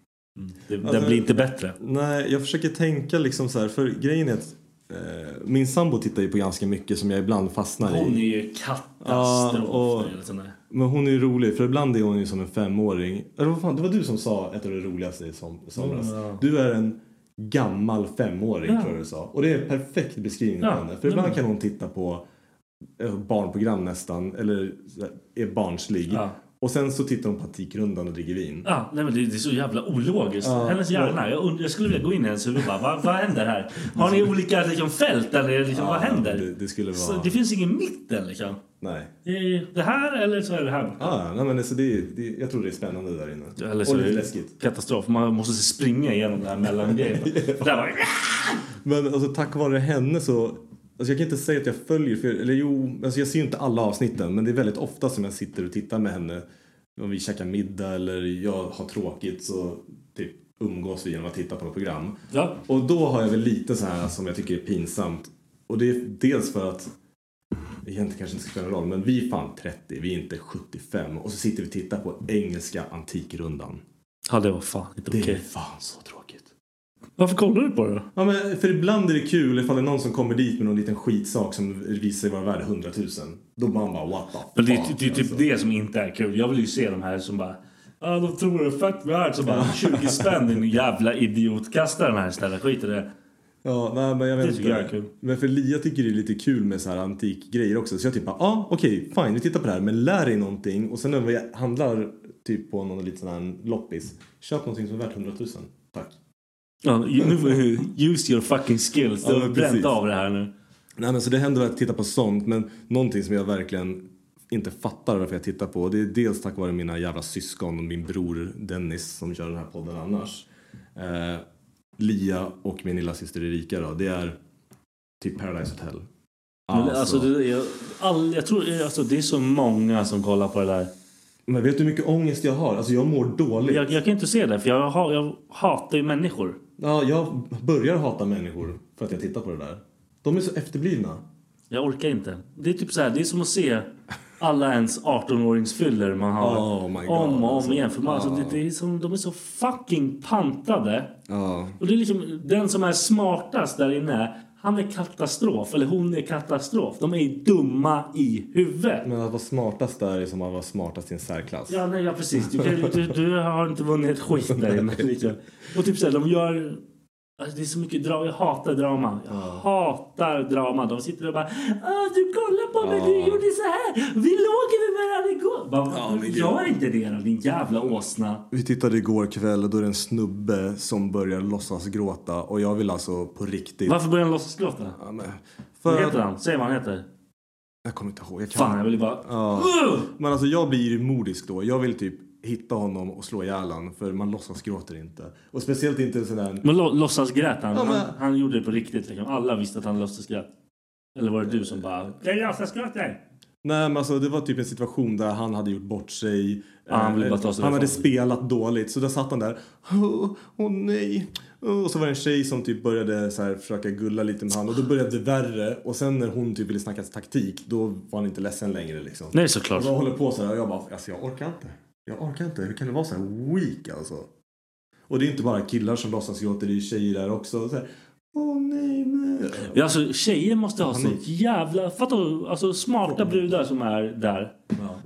Det, den
Alltså-
blir inte bättre.
Nej, jag försöker tänka liksom så här, för grejen är att eh, min sambo tittar ju på ganska mycket som jag ibland fastnar i.
Hon är ju katastrof.
Ja, och-
när det gäller sånt där.
Men hon är ju rolig, för ibland är hon ju som en femåring. Eller vad fan, det var du som sa ett av det roligaste i som, i somras.
Mm,
Du är en gammal femåring, tror jag du sa. Och det är en perfekt beskrivning
Ja,
av henne. För
nej,
ibland
men-
kan hon titta på eh, barnprogram nästan, eller så här, är barnslig.
Ja.
Och sen så tittar hon på Antikrundan och dricker vin.
Ja, nej, men det, det är så jävla ologiskt.
Ja,
hennes hjärna. Jag, und- jag skulle vilja gå in i hennes huvud och bara, vad, vad händer här? Har ni olika liksom, fält eller liksom, vad händer?
det- det skulle
så,
vara-
det finns ingen mitten liksom.
Nej.
Det är det här eller så är det här.
Ah, nej men alltså det, är- det, är- jag tror det är spännande där inne.
Eller så
och
är
lite
det
läskigt.
katastrof. Man måste springa igenom det här mellangrejen. Där bara,
Men alltså, tack vare henne så... Alltså, jag kan inte säga att jag följer... För, eller jo, alltså, jag ser ju inte alla avsnitten men det är väldigt ofta som jag sitter och tittar med henne. Om vi käkar middag eller jag har tråkigt så typ umgås vi genom att titta på något program.
ja.
Och då har jag väl lite så här som jag tycker är pinsamt. Och det är dels för att Egentligen kanske inte spelar någon roll, men vi är fan 30, vi är inte 75 och så sitter vi och tittar på engelska antikrundan.
ja, det var fan inte
Det
okej.
är fan så tråkigt.
Varför kollar du på det då?
Ja, men för ibland är det kul ifall det är någon som kommer dit med någon liten skitsak som visar sig vara värd 100 000. Då bara man bara what the
Men det, är
fuck,
ty- det är typ
alltså.
det som inte är kul. Jag vill ju se de här som bara... Ja, de tror det är fett värt. Så bara 20 spänn din jävla idiot. Kasta den här istället. Skit i det.
Ja, nej, men jag vet
Det tycker
inte.
jag är kul.
Men för Lia tycker det är lite kul med så här antikgrejer också. Så jag typ bara, ah, okej, fine, vi tittar på det här. Men lär dig någonting. Och sen när vi handlar typ på någon liten sån här loppis. Köp någonting som är värt 100 000. Tack.
Ja, nu- use your fucking skills. Du
Ja,
har
men
bränt
precis.
av det här nu.
Nej, men så det händer att jag tittar på sånt. Men någonting som jag verkligen inte fattar varför jag tittar på. Det är dels tack vare mina jävla syskon och min bror Dennis som kör den här podden annars. Eh, Lia och min lilla syster Erika då. Det är typ Paradise Hotel.
Men alltså, det, jag, all, jag tror, alltså, det är så många som kollar på det där.
Men vet du hur mycket ångest jag har? Alltså jag mår dåligt.
Jag, jag kan inte se det, för jag, ha- jag hatar ju människor.
Ja, jag börjar hata människor för att jag tittar på det där. De är så efterblivna.
Jag orkar inte. Det är typ så här, det är som att se alla ens 18-åringsfyller man har
Oh my God,
om och om
alltså.
igen. För man, alltså, det, det är som, de är så fucking pantade.
Ja.
Och det är liksom, den som är smartast där inne, han är katastrof. Eller hon är katastrof. De är ju dumma i huvudet.
Men att vara smartast där är som att vara smartast i en särklass.
Ja, nej, ja precis. Du, kan, du, du har inte vunnit ett skit där inne. Liksom. Och typ såhär, de gör... Alltså, det är så mycket drama. Jag hatar drama. Jag hatar drama. De sitter och bara "Ah, du kollar på mig, du gjorde så här. Vi låg med varandra igår. Bara, gör inte det då, din jävla åsna.
Vi tittade igår kväll och då är det en snubbe som börjar låtsas gråta och jag vill alltså på riktigt...
Varför börjar han låtsasgråta?
Ja, men-
Vad
För
heter
att...
han? Säg vad han heter.
Jag kommer inte ihåg. Jag kan...
Fan, jag vill ju bara...
Ja.
Ugh!
Men alltså jag blir ju modisk då. Jag vill typ hitta honom och slå ihjäl han, för man låtsas gråter inte. Och speciellt inte en sån där...
Men lo- låtsasgrät han.
Ja, men-
han? Han gjorde det på riktigt. Liksom. Alla visste att han låtsasgrät. Eller var det du som bara... Jag låtsasgråter!
Nej men alltså det var typ en situation där han hade gjort bort sig.
Ja, han ville
Eh,
bara ta sig
han hade
därifrån.
spelat dåligt så där satt han där. Åh åh, nej. Åh, Och så var det en tjej som typ började så här, försöka gulla lite med han och då började det värre. Och sen när hon typ ville snacka taktik då var han inte ledsen längre liksom.
Nej, såklart.
Och de håller på så här och jag bara alltså jag orkar inte. Jag orkar inte. Hur kan det vara så här weak alltså? Och det är inte bara killar som låtsas gråter, det är tjejer där också. Så här, Åh nej, nej.
Ja, alltså, tjejer måste ha så jävla... Fattar du? Alltså, smarta brudar som är där.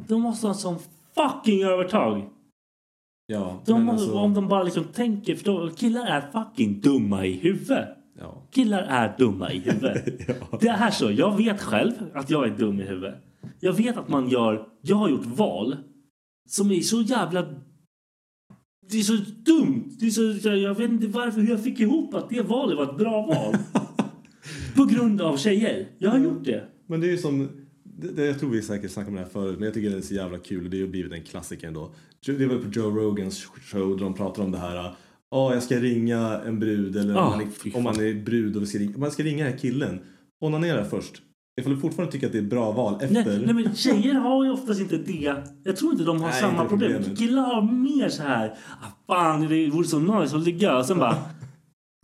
De måste ha sån fucking övertag.
Ja,
De
men
måste,
alltså-
Om de bara liksom tänker... För de, killar är fucking dumma i huvudet.
ja.
Killar är dumma i huvudet. Det är så. Jag vet själv att jag är dum i huvudet. Jag vet att man gör... Jag har gjort val som är så jävla... Det är så dumt. Det är så, jag- jag vet inte varför hur jag fick ihop att det valet var ett bra val. På grund av tjejer. Jag har gjort det.
Men det är ju som, det, det, jag tror vi säkert snackat om det här förut, men jag tycker det är så jävla kul och det har ju blivit en klassiker ändå. Jo- Det var på Joe Rogans show där de pratar om det här. Ja, jag ska ringa en brud eller
Ah,
om, man
fy
är, om man är brud och vi ska ringa, man ska ringa den här killen. Onanera först. Ifall du fortfarande tycker att det är bra val
Nej,
efter.
nej men tjejer har ju oftast inte det. Jag tror inte de har
Nej,
samma
inte
problem.
problemet.
Killar har mer så här. Ah, fan, det vore så nice att ligga. Och sen bara.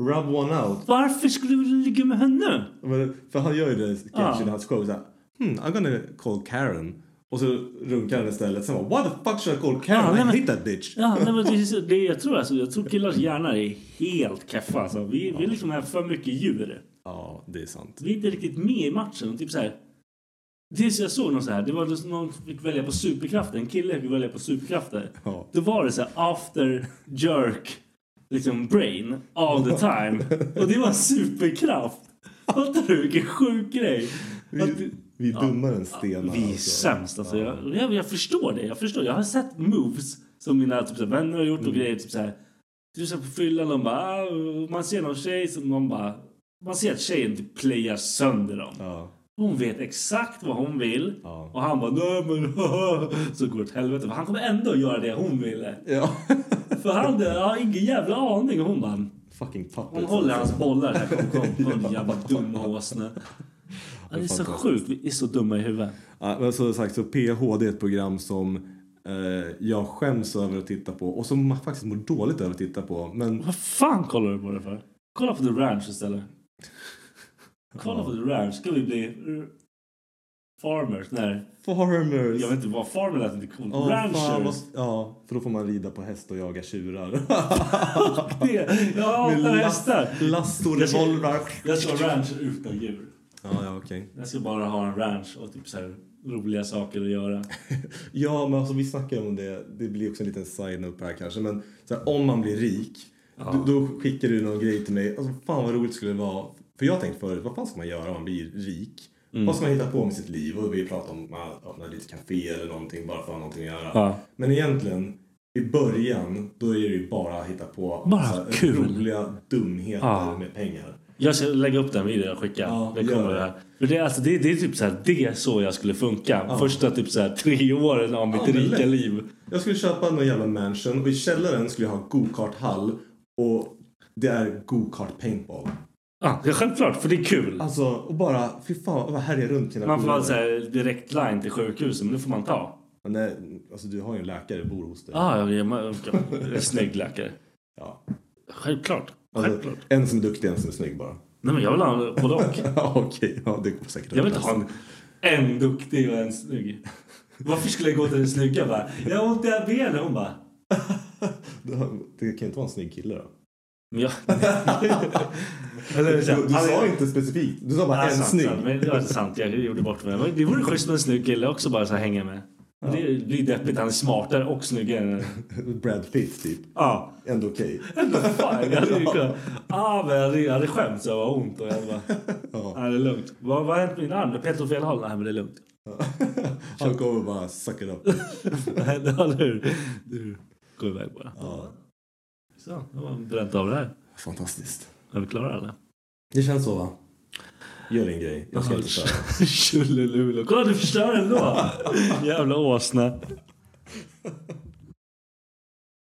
Rub one out.
Varför skulle du ligga med henne?
Men, för han gör ju det kanske
Ah.
i hans show såhär. Hmm, I'm gonna call Karen. Och så runkar han istället. Sen bara, what the fuck should I call Karen?
Ah, nej,
I
men-
hate that bitch.
Ja, nej, men det, är så- det, jag, tror, alltså, jag tror killars hjärnor är helt keffa. Alltså. Vi, vi liksom är för mycket djur.
Ja, det är sant.
Vi är inte riktigt med i matchen. Och Typ så här, tills jag såg någon så här, det var liksom någon som fick välja på superkrafter. En kille fick välja på superkrafter.
Ja.
Då var det så här after jerk liksom brain all the time. Och det var superkraft. Fattar du vilken sjuk grej? Att
Vi,
du-
vi är
Ja.
dummare än stenar.
Vi är
alltså.
sämst alltså. Jag, jag, jag förstår det. Jag förstår. Jag har sett moves som mina typ, så här, vänner har gjort och grejer. Typ så här. Du ser på fyllan och bara... "Ah", och Man ser någon tjej som någon bara... Man ser att tjejen typ playar sönder dem.
Ja.
Hon vet exakt vad hon vill.
Ja.
Och han bara nej men Så går det åt helvete. För han kommer ändå göra det hon ville.
ja.
För han jag har ingen jävla aning. Och hon bara...
Fucking puppets.
Hon håller hans bollar. Här, kom, kom, kom, din jävla dumma åsna. Ja, Det är så sjukt. Vi är så dumma i huvudet.
Ja, men som sagt, så PH det är ett program som eh, jag skäms över att titta på och som man faktiskt mår dåligt över att titta på. Men
Vad fan kollar du på det för? Kolla på The Ranch istället. Kolla på The Ranch. Ska vi bli... r- Farmers? Nej.
Farmers!
Jag vet inte vad farmer lät inte coolt.
Åh, fan, vad-
Ranchers.
ja, för då får man rida på häst och jaga tjurar.
Det. Jag hatar hästar.
Last och revolver.
Jag ska ha ranch utan djur.
Ja, ja, okej.
Jag ska bara ha en ranch och typ så här roliga saker att göra.
Ja, men alltså, vi snackar om det. Det blir också en liten side-note här kanske. Men så här, om man blir rik, då, då skickar du någon grej till mig. Alltså, fan vad roligt skulle det vara. För jag har tänkt förut, vad fan ska man göra om man blir rik?
Mm.
Vad ska man hitta på med sitt liv? Och vi pratar om att öppna lite café eller någonting bara för att ha någonting att göra.
Ja.
Men egentligen, i början, då är det ju bara att hitta på
Bara
så här,
kul.
roliga dumheter
Ja.
med pengar.
Jag ska lägga upp den videon och skicka.
Ja,
det kommer
gör det.
det här. För det, är alltså, det, det är typ så här, det är så jag skulle funka. Första typ så här, tre åren av mitt
Ja, men
rika
lätt.
liv.
Jag skulle köpa någon jävla mansion och i källaren skulle jag ha en go-kart-hall och det är go-kart paintball.
Ja, självklart, för det är kul.
Alltså, och bara, fy fan vad härjar runt kina
Man får ha så här direkt line till sjukhuset, men det får man ta.
Men nej, alltså du har ju en läkare, bor hos dig.
Ah, ja, ja, man- ja, en snygg läkare.
Ja.
Självklart.
Alltså,
Självklart.
en som är duktig, en som är snygg bara.
Nej, men jag vill ha både och.
Ja, Okej, ja, det går säkert
Jag vill inte ha en, en duktig och en snygg. Varför skulle jag gå till den snygga? Jag Bara, jag har ont i benen. Hon bara...
Det kan ju inte vara en snygg kille då.
Men jag... Eller, så här,
Du, du
han är-
sa inte specifikt, du sa bara
Ja,
en
sant,
snygg.
sant. Men det var inte sant. Jag gjorde bort mig. Men Det vore schysst med en snygg kille också bara så här, hänga med. Men Det blir deppigt. Han är smartare och snyggare.
Brad Pitt typ.
Ja.
Ändå okej.
Fan, jag hade ju kunnat... Ah, men jag hade, jag hade skämts över vad ont och jag bara... Ja. det är lugnt. Vad, vad har hänt med din arm? Det är fel håll? Nej, men det är lugnt.
Han kommer bara suck it up.
Nej, det har du. Du går iväg bara. Så, då har man bränt av det här.
Fantastiskt.
Är vi klara eller?
Det känns så va? Gör din grej. Jag ska inte störa.
Tjolilulu. Kolla, du förstör ändå! Jävla åsna.